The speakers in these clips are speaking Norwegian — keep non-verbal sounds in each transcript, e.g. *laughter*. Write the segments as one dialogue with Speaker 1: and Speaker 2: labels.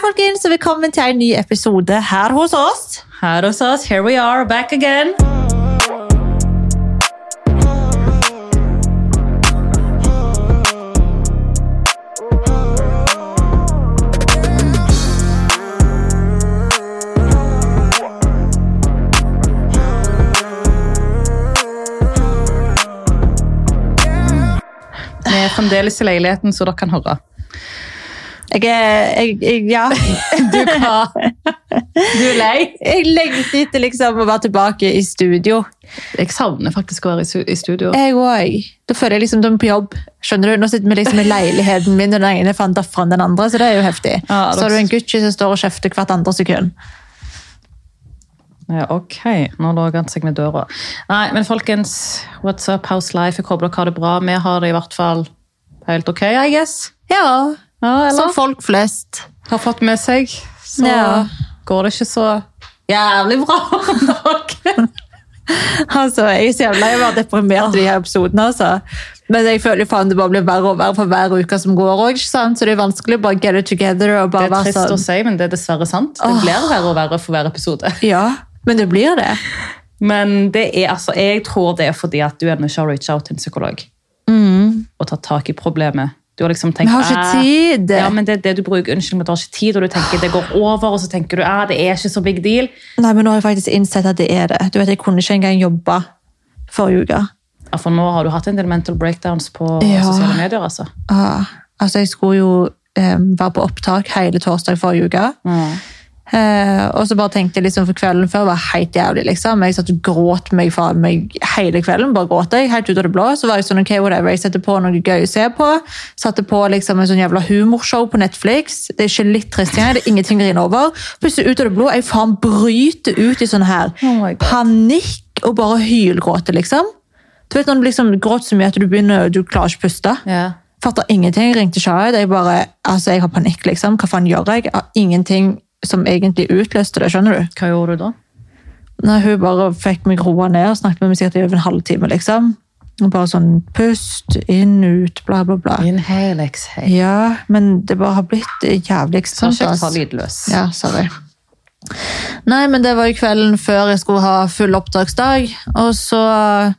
Speaker 1: folkens, og velkommen til en ny episode her hos oss.
Speaker 2: Her hos oss, here we are, back again. Vi er fremdeles i leiligheten, så dere kan høre.
Speaker 1: Jeg er jeg, jeg, Ja.
Speaker 2: Du *laughs* hva? Du er lei?
Speaker 1: Jeg lengter etter liksom å være tilbake i studio.
Speaker 2: Jeg savner faktisk å være i su- i studio.
Speaker 1: Jeg òg. Da føler jeg liksom de er på jobb. Skjønner du? Nå sitter vi liksom i leiligheten min, og den ene fant opp fra den andre, så det er jo heftig.
Speaker 2: Ja, det er
Speaker 1: så har du en
Speaker 2: også-
Speaker 1: Gucci som står og kjefter hvert andre sekund.
Speaker 2: Ja, ok, nå lå han seg med døra. Nei, men folkens, what's up, how's life? Jeg håper dere har det bra. Vi har det i hvert fall helt ok, I guess.
Speaker 1: Ja,
Speaker 2: Ja, eller?
Speaker 1: som folk flest.
Speaker 2: Har fått med seg, så
Speaker 1: Ja.
Speaker 2: går det ikke så jævlig bra *laughs* om dere.
Speaker 1: Altså, Jeg er så jævla jeg var deprimert i de her episodene. altså. Men jeg føler jo faen det bare blir verre og verre for hver uke som går. også, ikke sant? Så det er vanskelig å bare get it together. og
Speaker 2: Det
Speaker 1: bare
Speaker 2: er
Speaker 1: være
Speaker 2: trist å
Speaker 1: sånn.
Speaker 2: si, men det er dessverre sant. Det blir verre og verre for hver episode.
Speaker 1: Ja, men det blir det.
Speaker 2: Men det er, altså, jeg tror det er fordi at du ennå ikke har reached out til en psykolog og tatt tak i problemet. Du har liksom tenkt,
Speaker 1: Mm. Vi har ikke
Speaker 2: «Ah,
Speaker 1: tid!»
Speaker 2: Ja, men det er det du bruker unnskyld, men du har ikke tid, og du tenker det går over, og så tenker du at det er ikke så big deal.
Speaker 1: Nei, men nå har jeg faktisk innsett at det er det. Du vet, Jeg kunne ikke engang jobbe forrige uke.
Speaker 2: Ja, for nå har du hatt en del mental breakdowns på
Speaker 1: Ja.
Speaker 2: sosiale medier, altså.
Speaker 1: Ah, altså, jeg skulle jo eh, være på opptak hele torsdag forrige uke.
Speaker 2: Mm.
Speaker 1: Eh, og så bare tenkte jeg liksom for kvelden før var helt jævlig. liksom. Jeg satt og gråt meg faen meg hele kvelden. bare gråt jeg, Helt ut av det blå. Så var jeg sånn ok, whatever, jeg setter på noe gøy å se på. Satte på liksom en sånn jævla humorshow på Netflix. Det er ikke litt trist engang. Det er ingenting å grine over. Plutselig ut av det blå, jeg faen bryter ut i sånn her
Speaker 2: Oh my God.
Speaker 1: panikk og bare hylgråter, liksom. Du vet når du liksom gråter så mye at du begynner, du klarer ikke å puste.
Speaker 2: Ja.
Speaker 1: Fatter ingenting, ringte Shahid. Jeg bare, altså jeg har panikk, liksom. Hva faen gjør jeg? Jeg har ingenting som egentlig utløste det, skjønner du?
Speaker 2: Hva gjorde du da?
Speaker 1: Når hun bare fikk meg roa ned og snakket med meg sikkert i over en halvtime, liksom. Og bare sånn, pust, inn, ut, bla, bla, bla.
Speaker 2: Inhale, exhale.
Speaker 1: Ja, men det bare har blitt jævlig
Speaker 2: Så
Speaker 1: ekstremt.
Speaker 2: kjekt å ha
Speaker 1: ass.
Speaker 2: lydløs.
Speaker 1: Ja, sorry. Nei, men det var jo kvelden før jeg skulle ha full oppdragsdag, og så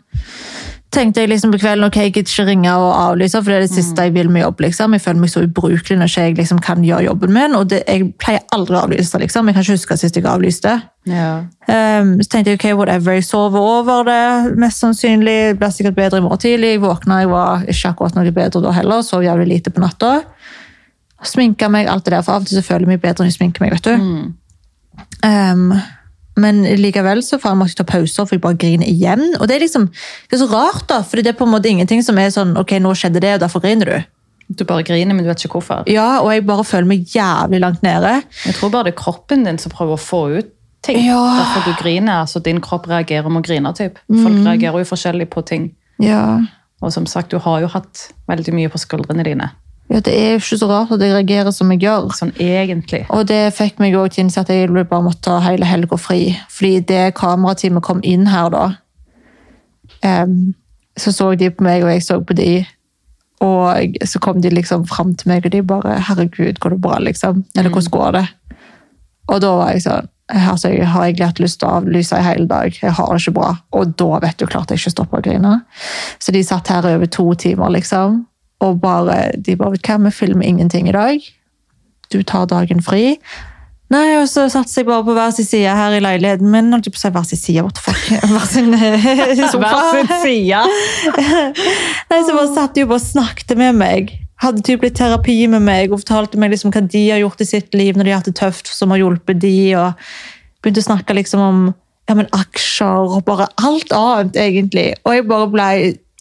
Speaker 1: tenkte jeg liksom på kvelden, ok, jeg gidder ikke ringe og avlyse, for det er det siste jeg vil med jobb, liksom. Jeg føler meg så ubrukelig når ikke jeg liksom kan gjøre jobben min, og det, jeg pleier aldri å avlyse, liksom. Jeg kan ikke huske sist jeg avlyste.
Speaker 2: Ja.
Speaker 1: Ehm, så tenkte jeg, ok, whatever, jeg sover over det, mest sannsynlig, det blir sikkert bedre i morgen tidlig. Jeg våkna, jeg var ikke akkurat noe bedre da heller, sov jævlig lite på natta. Sminka meg, alt det der, for av og til så føler jeg meg bedre når jeg sminker meg, vet du. Ehm, men likevel så faen måtte jeg ta pauser, for jeg bare griner igjen. Og det er liksom, det er så rart da, for det er på en måte ingenting som er sånn, ok, nå skjedde det, og derfor griner du.
Speaker 2: Du bare griner, men du vet ikke hvorfor.
Speaker 1: Ja, og jeg bare føler meg jævlig langt nede.
Speaker 2: Jeg tror bare det er kroppen din som prøver å få ut ting.
Speaker 1: Ja.
Speaker 2: Derfor du griner. altså Din kropp reagerer med å grine. Typ. Folk reagerer jo forskjellig på ting.
Speaker 1: Ja,
Speaker 2: Og som sagt, du har jo hatt veldig mye på skuldrene dine.
Speaker 1: ja det er jo ikke så rart at jeg reagerer som jeg gjør.
Speaker 2: Sånn egentlig.
Speaker 1: Og det fikk meg også til å innse at jeg bare måtte ta hele helga fri. Fordi det kamerateamet kom inn her da, em, så så de på meg, og jeg så på de. Og så kom de liksom fram til meg, og de bare 'Herregud, går det bra?' liksom. Eller 'Hvordan går det?' Og da var jeg sånn altså, Jeg har egentlig hatt lyst til å avlyse i hele dag. Jeg har det ikke bra. Og da vet du klart jeg ikke stopper å grine. Så de satt her i over to timer, liksom. Og bare, de bare 'Hva, vi filmer ingenting i dag.' du tar dagen fri. Nei, og så satser jeg bare på hver sin side her i leiligheten min. Holdt jeg på å si hver sin side, what the fuck? *laughs* Hver sin eh, sofa.
Speaker 2: side.
Speaker 1: Nei, så bare satt de og bare snakket med meg. Hadde typ litt terapi med meg og fortalte meg liksom hva de har gjort i sitt liv når de har hatt det tøft, som har hjulpet de, og begynte å snakke liksom om ja, men aksjer og bare alt annet, egentlig. Og jeg bare ble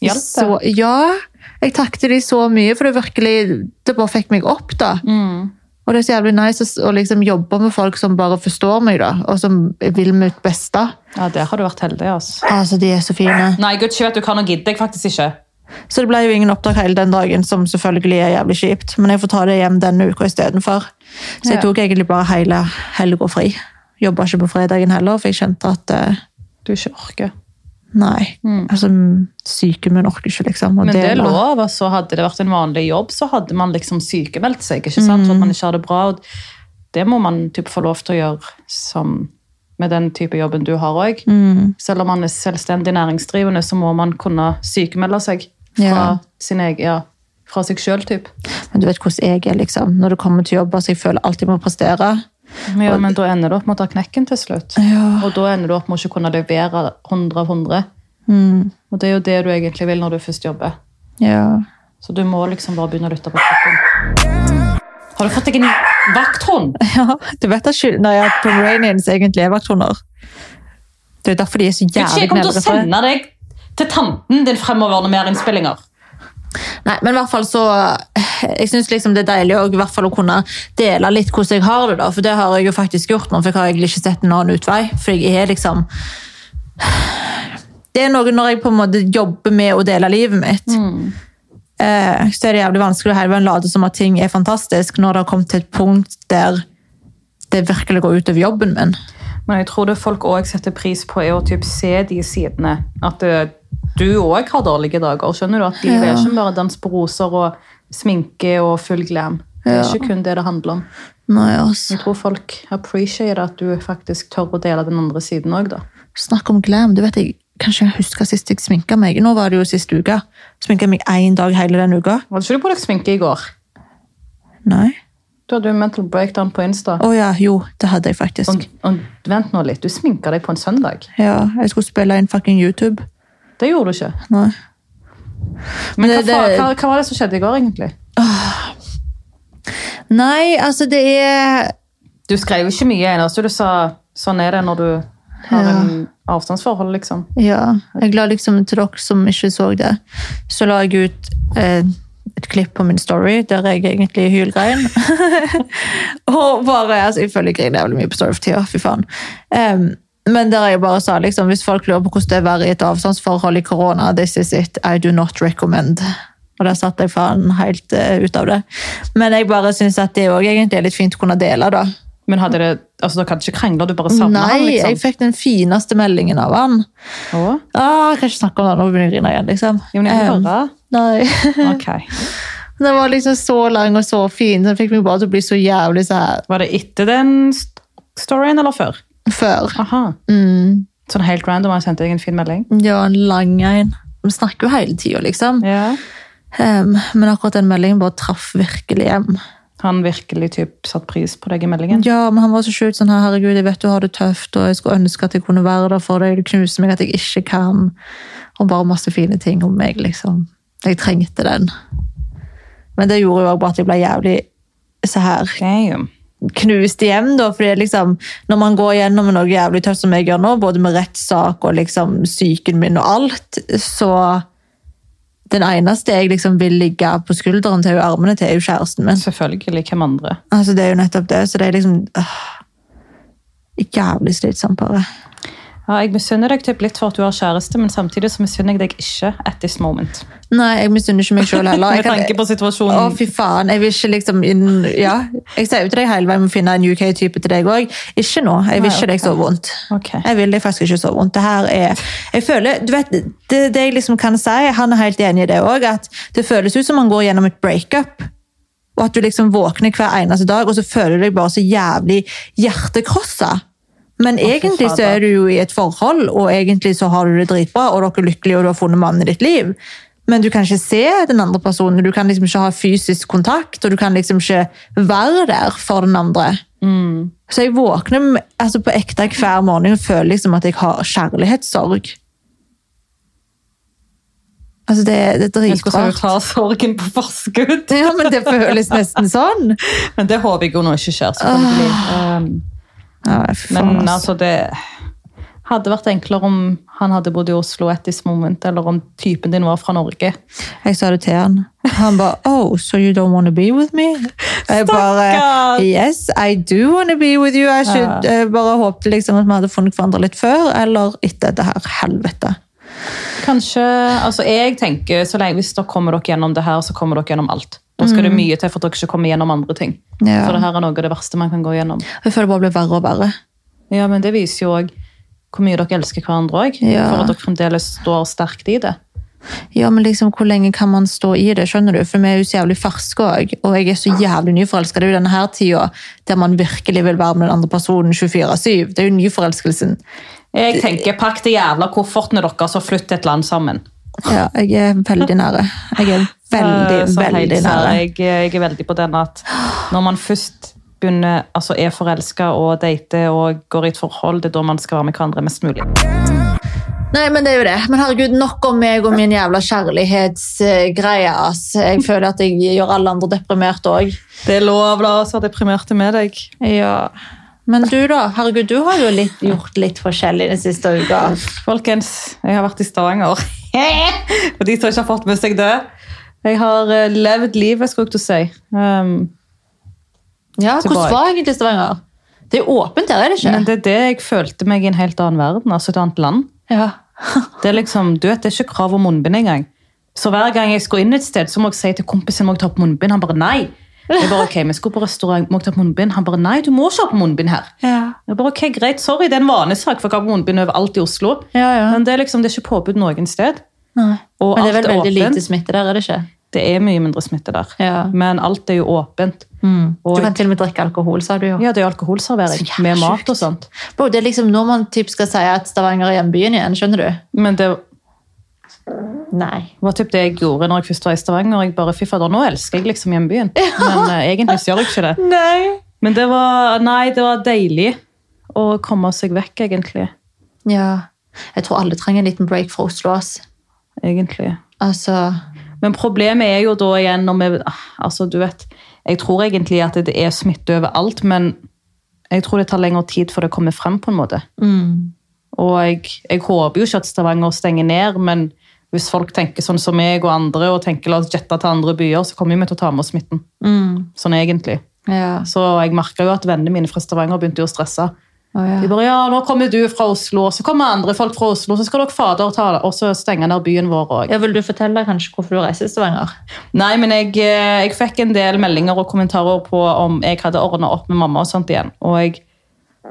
Speaker 2: Hjalp det?
Speaker 1: så Ja. Jeg takket de så mye, for det virkelig Det bare fikk meg opp, da.
Speaker 2: Mm.
Speaker 1: Og det er så jævlig nice å s- å liksom jobbe med folk som bare forstår meg, da, og som vil mitt beste.
Speaker 2: Ja, der har du vært heldig, altså.
Speaker 1: Altså, de er så fine.
Speaker 2: Nei, gud, vet du hva, nå gidder jeg faktisk ikke.
Speaker 1: Så det ble jo ingen opptak hele den dagen, som selvfølgelig er jævlig kjipt. Men jeg får ta det hjem denne uka istedenfor. Så jeg
Speaker 2: Ja.
Speaker 1: tok egentlig bare hele helga fri. Jobba ikke på fredagen heller, for jeg kjente at eh,
Speaker 2: Du ikke orker.
Speaker 1: nei. Altså, syken min orker ikke, liksom. og
Speaker 2: Mm. Men det
Speaker 1: er
Speaker 2: er
Speaker 1: la-
Speaker 2: lov, altså hadde det vært en vanlig jobb, så hadde man liksom sykemeldt seg, ikke sant? For at man ikke har det bra. og det må man typ få lov til å gjøre som med den type jobben du har òg. Selv om man er selvstendig næringsdrivende, så må man kunne sykemelde seg fra,
Speaker 1: Ja.
Speaker 2: sin egen, ja, fra seg sjøl, typ.
Speaker 1: Men du vet hvordan jeg er, liksom. Når det kommer til jobb, altså, jeg føler alltid jeg må prestere.
Speaker 2: Ja, men da ender du opp med å ta knekken til slutt.
Speaker 1: Ja.
Speaker 2: Og da ender du opp med å ikke kunne levere 100 av 100.
Speaker 1: Mm.
Speaker 2: Og det er jo det du egentlig vil når du først jobber.
Speaker 1: Ja.
Speaker 2: Så du må liksom bare begynne å lytte på kroppen. Har du fått deg en vakthund?
Speaker 1: *laughs* ja. Du vet at skyld, nei, at Pomeranians egentlig er vakthunder. Det er jo derfor de er så
Speaker 2: Ikke
Speaker 1: jævlig
Speaker 2: jeg kommer til å
Speaker 1: for det.
Speaker 2: sende deg til tanten din fremover når vi har innspillinger.
Speaker 1: Nei, men i hvert fall så Jeg syns liksom det er deilig å- i hvert fall å kunne dele litt hvordan jeg har det, da. For det har jeg jo faktisk gjort nå, for jeg har egentlig ikke sett en annen utvei. For jeg er liksom Det er noe når jeg på en måte jobber med å dele livet mitt. Eh, så er det jævlig vanskelig å hele veien late som at ting er fantastisk, når det har kommet til et punkt der det virkelig går ut over jobben min.
Speaker 2: Men jeg tror det folk òg setter pris på, er å typ se de sidene. At eh, du òg har dårlige dager. Skjønner du at livet er ikke bare dans på roser og sminke og full glam. Det er ikke kun det det handler om.
Speaker 1: Nei, altså.
Speaker 2: Jeg tror folk appreciater at du faktisk tør å dele den andre siden òg, da.
Speaker 1: Snakk om glam. Du vet, jeg kan ikke huske sist jeg sminka meg. Nå var det jo sist uke. Sminka meg én dag hele den uka.
Speaker 2: Var det ikke du på deg sminke i går?
Speaker 1: Nei.
Speaker 2: Du hadde jo en mental breakdown på Insta.
Speaker 1: Å ja, jo, det hadde jeg faktisk.
Speaker 2: Og, og, vent nå litt, du sminka deg på en søndag.
Speaker 1: Ja, jeg skulle spille inn fucking YouTube.
Speaker 2: Det gjorde du ikke.
Speaker 1: Nei.
Speaker 2: Men hva,
Speaker 1: det-
Speaker 2: fa-
Speaker 1: det-
Speaker 2: hva, hva var det som skjedde i går, egentlig?
Speaker 1: Nei, altså det er
Speaker 2: Du skrev ikke mye ennå, så du sa sånn er det når du har
Speaker 1: Ja.
Speaker 2: en avstandsforhold, liksom.
Speaker 1: Ja, jeg la liksom til dere som ikke så det, så la jeg ut eh, et klipp på min story der jeg egentlig hylgrein. *laughs* og bare, altså jeg føler jeg griner jævlig mye på story for tida, fy faen. Em, men der jeg bare sa liksom, hvis folk lurer på hvordan det er å være i et avstandsforhold i korona, this is it, I do not recommend. Og der satt jeg faen helt eh, ut av det. Men jeg bare synes at det også egentlig er litt fint å kunne dele da.
Speaker 2: Men hadde det, altså, dere hadde ikke krangla, du bare savna
Speaker 1: Nei,
Speaker 2: han,
Speaker 1: jeg
Speaker 2: liksom?
Speaker 1: fikk den fineste meldingen av han.
Speaker 2: Å?
Speaker 1: Ah, jeg kan ikke snakke om det, nå begynner jeg å grine igjen, liksom.
Speaker 2: Jo, men jeg
Speaker 1: Em,
Speaker 2: vil høre.
Speaker 1: Nei. *laughs*
Speaker 2: Ok.
Speaker 1: Den var liksom så lang og så fin. Den fikk meg bare til å bli så jævlig så her
Speaker 2: Var det etter den st- storyen, eller før?
Speaker 1: før. Mm,
Speaker 2: Aha. Sånn helt random, jeg sendte deg en fin melding.
Speaker 1: Det var en lang en. Vi snakker jo hele tida, liksom.
Speaker 2: Ja.
Speaker 1: Em, men akkurat den meldingen bare traff virkelig hjem.
Speaker 2: Han virkelig typ satt pris på deg i meldingen.
Speaker 1: Ja, men Han var så sjukt sånn her, herregud, jeg vet du har det tøft, og jeg skulle ønske at jeg kunne være der for deg. Du knuser meg at jeg ikke kan. Og bare masse fine ting om meg, liksom. Jeg trengte den. Men det gjorde jo også bare at jeg ble jævlig så her
Speaker 2: Mm. Damn.
Speaker 1: knust hjem, da, fordi liksom, når man går gjennom noe jævlig tøft som jeg gjør nå, både med rettssak og liksom psyken min og alt, så den eneste jeg liksom vil ligge på skulderen til og i armene til, er jo kjæresten min.
Speaker 2: Selvfølgelig. Hvem andre?
Speaker 1: Altså, det er jo nettopp det, så det er liksom øh, jævlig slitsomt bare.
Speaker 2: Ja, jeg misunner deg typ litt for at du har kjæreste, men samtidig så misunner jeg deg ikke at this moment.
Speaker 1: Nei, jeg misunner ikke meg sjøl heller.
Speaker 2: Med
Speaker 1: Jeg
Speaker 2: tanke
Speaker 1: kan,
Speaker 2: på
Speaker 1: å,
Speaker 2: situasjonen.
Speaker 1: fy faen. Jeg vil ikke liksom inn, ja. Jeg sier jo til deg hele veien må finne en UK-type til deg òg. Ikke nå. Jeg vil
Speaker 2: Nei,
Speaker 1: ikke deg så vondt.
Speaker 2: Ok.
Speaker 1: Jeg vil deg faktisk ikke så vondt. Det her er Jeg føler Du vet, det, det jeg liksom kan si, han er helt enig i det òg, at det føles ut som man går gjennom et breakup. Og at du liksom våkner hver eneste dag, og så føler du deg bare så jævlig hjertekrossa. Men egentlig så er du jo i et forhold, og egentlig så har du det dritbra, og dere er lykkelige, og du har funnet mannen i ditt liv. Men du kan ikke se den andre personen, du kan liksom ikke ha fysisk kontakt, og du kan liksom ikke være der for den andre.
Speaker 2: Mm.
Speaker 1: Så jeg våkner med- altså på ekte hver morgen og føler liksom at jeg har kjærlighetssorg. Altså, det, det er
Speaker 2: Jeg skulle
Speaker 1: dritrart.
Speaker 2: ta sorgen på
Speaker 1: *laughs*
Speaker 2: forskudd.
Speaker 1: Ja, men det føles nesten sånn.
Speaker 2: Men det håper jeg jo nå ikke skjer, selvfølgelig. Um,
Speaker 1: Ja, fy Ah, faen,
Speaker 2: men
Speaker 1: altså.
Speaker 2: altså, det hadde vært enklere om han hadde bodd i Oslo at this moment, eller om typen din var fra Norge.
Speaker 1: Jeg sa det til han. Han bare Oh, so you don't want to be with me? Og Jeg bare
Speaker 2: Stakkars!
Speaker 1: Yes, I do want to be with you. Jeg, should, jeg bare håpte liksom at vi hadde funnet hverandre litt før eller etter dette her helvete.
Speaker 2: Kanskje, altså jeg tenker, så lenge hvis dere kommer dere gjennom det her, så kommer dere gjennom alt. Da skal det mye til for at dere ikke kommer gjennom andre ting.
Speaker 1: Mm. Ja.
Speaker 2: For det her er noe av det verste man kan gå gjennom.
Speaker 1: Jeg føler det bare blir verre og verre.
Speaker 2: Ja, men det viser jo òg hvor mye dere elsker hverandre òg.
Speaker 1: Ja.
Speaker 2: For at dere fremdeles står sterkt i det.
Speaker 1: Ja, men liksom, hvor lenge kan man stå i det, skjønner du? For vi er jo så jævlig ferske òg, og jeg er så jævlig nyforelska. Det er jo denne her tida der man virkelig vil være med den andre personen 24-7. Det er jo nyforelskelsen.
Speaker 2: Jeg tenker, pakk de jævla koffertene deres og flytt til et land sammen.
Speaker 1: Ja, jeg er veldig nære.
Speaker 2: *laughs*
Speaker 1: Jeg er veldig,
Speaker 2: Eh, som
Speaker 1: veldig
Speaker 2: jeg sa,
Speaker 1: nære.
Speaker 2: Jeg, jeg er veldig på den at når man først begynner, altså er forelska og dater og går i et forhold, det er da man skal være med hverandre mest mulig.
Speaker 1: Nei, men det er jo det. Men herregud, nok om meg og min jævla kjærlighetsgreie, ass. Jeg føler at jeg gjør alle andre deprimerte òg.
Speaker 2: Det er lov, la oss ha deprimerte med deg.
Speaker 1: Ja. Men du, da? Herregud, du har jo litt, gjort litt forskjellig den siste uka.
Speaker 2: Folkens, jeg har vært i Stavanger. *laughs* og de som ikke har fått med seg det. Jeg har eh, levd livet, skulle jeg til å si. Um,
Speaker 1: Ja,
Speaker 2: Tilbake.
Speaker 1: Hvordan var egentlig Stavanger? Det er jo åpent her, er det ikke?
Speaker 2: men det er det jeg følte meg i en helt annen verden, altså et annet land.
Speaker 1: Ja.
Speaker 2: Det er liksom, du vet, det er ikke krav om munnbind engang. Så hver gang jeg skulle inn et sted, så må jeg si til kompisen må jeg ta på munnbind. Han bare nei. Jeg bare, ok, vi skulle på restaurant, må jeg ta på munnbind? Han bare nei, du må ikke ha på munnbind her.
Speaker 1: Ja.
Speaker 2: Jeg bare, ok, greit, sorry, det er en vanesak, for jeg har munnbind overalt i Oslo.
Speaker 1: Ja, ja.
Speaker 2: Men det er liksom, det er ikke påbud noen sted.
Speaker 1: Nei.
Speaker 2: Og
Speaker 1: Men det er vel
Speaker 2: alt er
Speaker 1: veldig
Speaker 2: åpent.
Speaker 1: lite smitte der, er det ikke?
Speaker 2: Det er mye mindre smitte der.
Speaker 1: Ja.
Speaker 2: Men alt er jo åpent.
Speaker 1: Du
Speaker 2: Og
Speaker 1: kan til Mm. og med drikke alkohol, sa du jo.
Speaker 2: ja, det er jo alkoholservering
Speaker 1: Så jævla
Speaker 2: med mat
Speaker 1: sjukt.
Speaker 2: og sånt.
Speaker 1: Bro, det er liksom når man typ skal si at Stavanger er hjembyen igjen, skjønner du?
Speaker 2: Men det
Speaker 1: Nei.
Speaker 2: var typ det jeg gjorde når jeg først var i Stavanger. Jeg bare, fy fader, nå elsker jeg liksom hjembyen. Men eh, egentlig så gjør jeg ikke det.
Speaker 1: Nei.
Speaker 2: Men det var, nei, det var deilig å komme seg vekk, egentlig.
Speaker 1: Ja. Jeg tror alle trenger en liten break fra Oslo, ass.
Speaker 2: egentlig.
Speaker 1: Altså,
Speaker 2: Men problemet er jo da igjen når vi ah, Altså, du vet, jeg tror egentlig at det er smitte overalt, men jeg tror det tar lengre tid før det kommer frem, på en måte.
Speaker 1: mm,
Speaker 2: Og jeg, jeg håper jo ikke at Stavanger stenger ned, men hvis folk tenker sånn som meg og andre, og tenker la oss jette til andre byer, så kommer vi til å ta med oss smitten. Sånn egentlig.
Speaker 1: mm, ja.
Speaker 2: Så jeg merka jo at vennene mine fra Stavanger begynte jo å stresse.
Speaker 1: Å, ja.
Speaker 2: De bare ja, nå kommer du fra Oslo, og så kommer andre folk fra Oslo, så skal dere fader ta det, og så stenge ned byen vår òg.
Speaker 1: ja. Vil du fortelle kanskje hvorfor du reiser til Stavanger?
Speaker 2: Nei, men jeg, eh, jeg fikk en del meldinger og kommentarer på om jeg hadde ordna opp med mamma og sånt igjen, og jeg,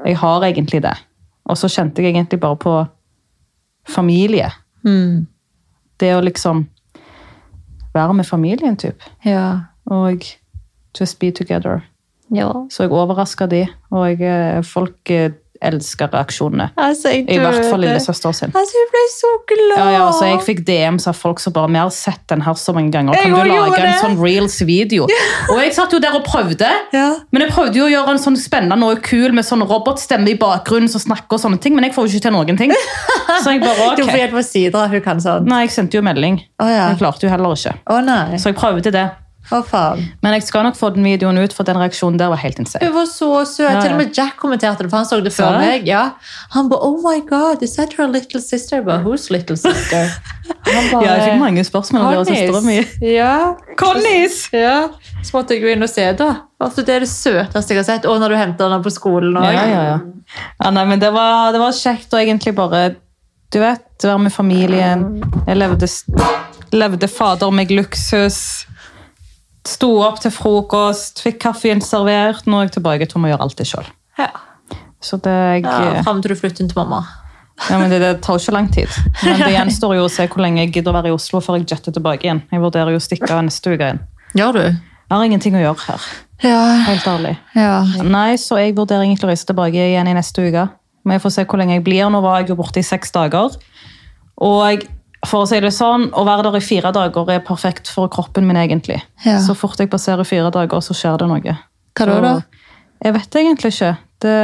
Speaker 2: jeg har egentlig det. Og så kjente jeg egentlig bare på familie.
Speaker 1: Mm,
Speaker 2: Det å liksom være med familien, typ.
Speaker 1: Ja.
Speaker 2: Og just be together.
Speaker 1: Ja.
Speaker 2: Så jeg overraska de, og jeg, eh, folk eh, elsker reaksjonene.
Speaker 1: Altså, jeg
Speaker 2: I hvert fall
Speaker 1: døde.
Speaker 2: lillesøster sin.
Speaker 1: Altså, jeg ble så glad!
Speaker 2: Ja, ja, altså jeg fikk DMs av folk som bare Vi har sett den her så mange ganger. Kan
Speaker 1: Jeg
Speaker 2: du
Speaker 1: også
Speaker 2: lage
Speaker 1: gjorde
Speaker 2: en
Speaker 1: det.
Speaker 2: sånn reels-video? Og jeg satt jo der og prøvde.
Speaker 1: Ja.
Speaker 2: Men jeg prøvde jo å gjøre en sånn spennende og kul med sånn robotstemme i bakgrunnen som snakker og sånne ting, men jeg får jo ikke til noen *laughs* ting. Så jeg bare,
Speaker 1: Du får
Speaker 2: ok.
Speaker 1: hjelp av Sidra, hun kan sånn.
Speaker 2: Nei, jeg sendte jo melding.
Speaker 1: Å, ja.
Speaker 2: Jeg klarte jo heller ikke.
Speaker 1: Å nei,
Speaker 2: Så jeg prøvde det.
Speaker 1: å faen.
Speaker 2: Men jeg skal nok få den videoen ut, for den reaksjonen der var helt insane.
Speaker 1: Hun var så søt.
Speaker 2: ja.
Speaker 1: Til og med Jack kommenterte det, for han så det før
Speaker 2: Ja.
Speaker 1: meg. Ja. Han ba, oh my god, is that your little sister? Jeg ba, whose little
Speaker 2: *laughs*
Speaker 1: sister? Han ba,
Speaker 2: Ja, jeg fikk mange spørsmål av
Speaker 1: Connies.
Speaker 2: søstera mi.
Speaker 1: Ja.
Speaker 2: Connies!
Speaker 1: ja. Så måtte jeg gå inn og se, da. Altså, det er det søteste jeg har sett. Og når du henter henne på skolen også.
Speaker 2: Ja, ja, ja. ja nei, men det var, det var kjekt å egentlig bare Du vet, være med familien. Jeg levde, s- levde fader meg luksus. Sto opp til frokost, fikk kaffen servert. Nå er jeg tilbake til å gjøre alt det sjøl.
Speaker 1: Ja.
Speaker 2: Så det, jeg,
Speaker 1: Ja,
Speaker 2: ja,
Speaker 1: Fram til du flytter inn til mamma.
Speaker 2: men det, det tar jo ikke lang tid. Men det gjenstår jo å se hvor lenge jeg gidder å være i Oslo før jeg jetter tilbake igjen. Jeg vurderer jo å stikke av neste uke igjen.
Speaker 1: Gjør du?
Speaker 2: Jeg har ingenting å gjøre her.
Speaker 1: Ja.
Speaker 2: Helt ærlig.
Speaker 1: ja.
Speaker 2: Nei, så jeg vurderer egentlig å reise tilbake igjen i neste uke. Men jeg får se hvor lenge jeg blir. Nå var jeg jo borte i seks dager. Og for å si det sånn, å være der i fire dager er perfekt for kroppen min, egentlig.
Speaker 1: Ja.
Speaker 2: Så fort jeg passerer fire dager, så skjer det noe.
Speaker 1: Hva da,
Speaker 2: Så-
Speaker 1: da?
Speaker 2: Jeg vet egentlig ikke. Det,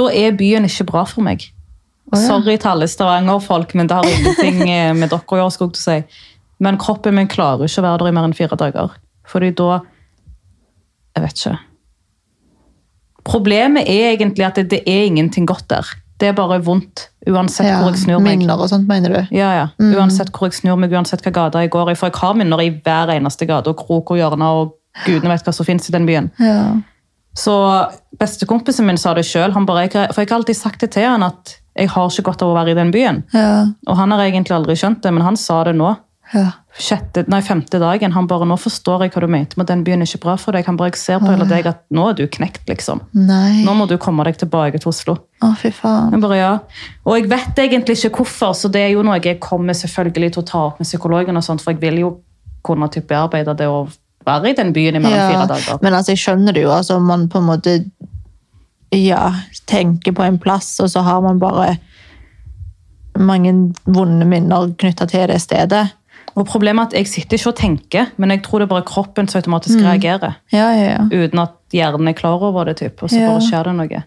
Speaker 2: da er byen ikke bra for meg.
Speaker 1: Å, ja.
Speaker 2: Sorry til alle Stavanger-folk, men det har ingenting *laughs* eh, med dere å gjøre. skulle jeg til å si. Men kroppen min klarer ikke å være der i mer enn fire dager. Fordi da Jeg vet ikke. Problemet er egentlig at det, det er ingenting godt der. Det er bare vondt, uansett
Speaker 1: Ja,
Speaker 2: hvor jeg snur meg.
Speaker 1: Minner og sånt, mener du?
Speaker 2: Ja, ja. Uansett hvor jeg snur meg, uansett hva gata jeg går i. For jeg har minner i hver eneste gate og krok og hjørne og gudene vet hva som fins i den byen.
Speaker 1: Ja.
Speaker 2: Så bestekompisen min sa det sjøl. For jeg har alltid sagt det til han at jeg har ikke godt av å være i den byen.
Speaker 1: Ja.
Speaker 2: Og han har egentlig aldri skjønt det, men han sa det nå.
Speaker 1: Ja.
Speaker 2: sjette, nei, femte dagen. Han bare 'Nå forstår jeg hva du mente, men den byen er ikke bra for deg.' Han bare 'Jeg ser på hele deg at nå er du knekt, liksom.
Speaker 1: Nei.
Speaker 2: Nå må du komme deg tilbake til Oslo'.
Speaker 1: Å, fy faen.
Speaker 2: Jeg bare, ja. Og jeg vet egentlig ikke hvorfor, så det er jo noe jeg kommer selvfølgelig til å ta opp med psykologen, og sånt, for jeg vil jo kunne typ bearbeide det å være i den byen i mellom
Speaker 1: Ja,
Speaker 2: fire dager.
Speaker 1: men altså, jeg skjønner det jo. Altså, man på en måte ja, tenker på en plass, og så har man bare mange vonde minner knytta til det stedet.
Speaker 2: Og problemet er at jeg sitter ikke og tenker, men jeg tror det er bare kroppen som automatisk reagerer,
Speaker 1: Ja, ja, ja.
Speaker 2: uten at hjernen er klar over det, typ, og så
Speaker 1: Ja.
Speaker 2: bare skjer det noe.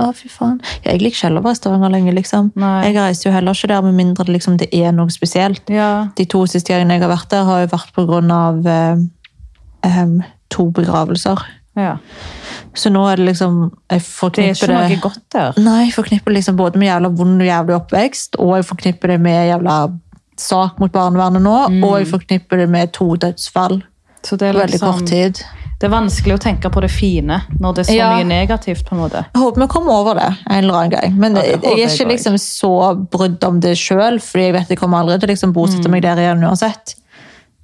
Speaker 1: Å, fy faen. Ja, jeg liker ikke heller å være i Stavanger lenge, liksom.
Speaker 2: Nei.
Speaker 1: Jeg reiser jo heller ikke der med mindre det liksom, det er noe spesielt.
Speaker 2: Ja,
Speaker 1: De to siste gangene jeg har vært der, har jo vært på grunn av eh, em, to begravelser.
Speaker 2: ja.
Speaker 1: Så nå er det liksom Jeg
Speaker 2: Det er
Speaker 1: forknipper
Speaker 2: ikke
Speaker 1: det,
Speaker 2: noe godt der.
Speaker 1: Nei, jeg forknipper det liksom både med jævla vond og jævlig oppvekst, og jeg forknipper det med jævla sak mot barnevernet nå,
Speaker 2: Mm.
Speaker 1: og jeg forknipper det med to dødsfall
Speaker 2: Så
Speaker 1: på
Speaker 2: det er,
Speaker 1: veldig
Speaker 2: liksom,
Speaker 1: kort tid.
Speaker 2: det er vanskelig å tenke på det fine når det er så
Speaker 1: Ja.
Speaker 2: mye negativt. på en måte.
Speaker 1: Jeg håper vi kommer over det en eller annen gang. Men
Speaker 2: Ja, det
Speaker 1: jeg
Speaker 2: håper
Speaker 1: er
Speaker 2: jeg
Speaker 1: ikke
Speaker 2: også.
Speaker 1: liksom så brydd om det sjøl, fordi jeg vet jeg kommer aldri til å liksom
Speaker 2: Mm.
Speaker 1: bosette meg der igjen uansett.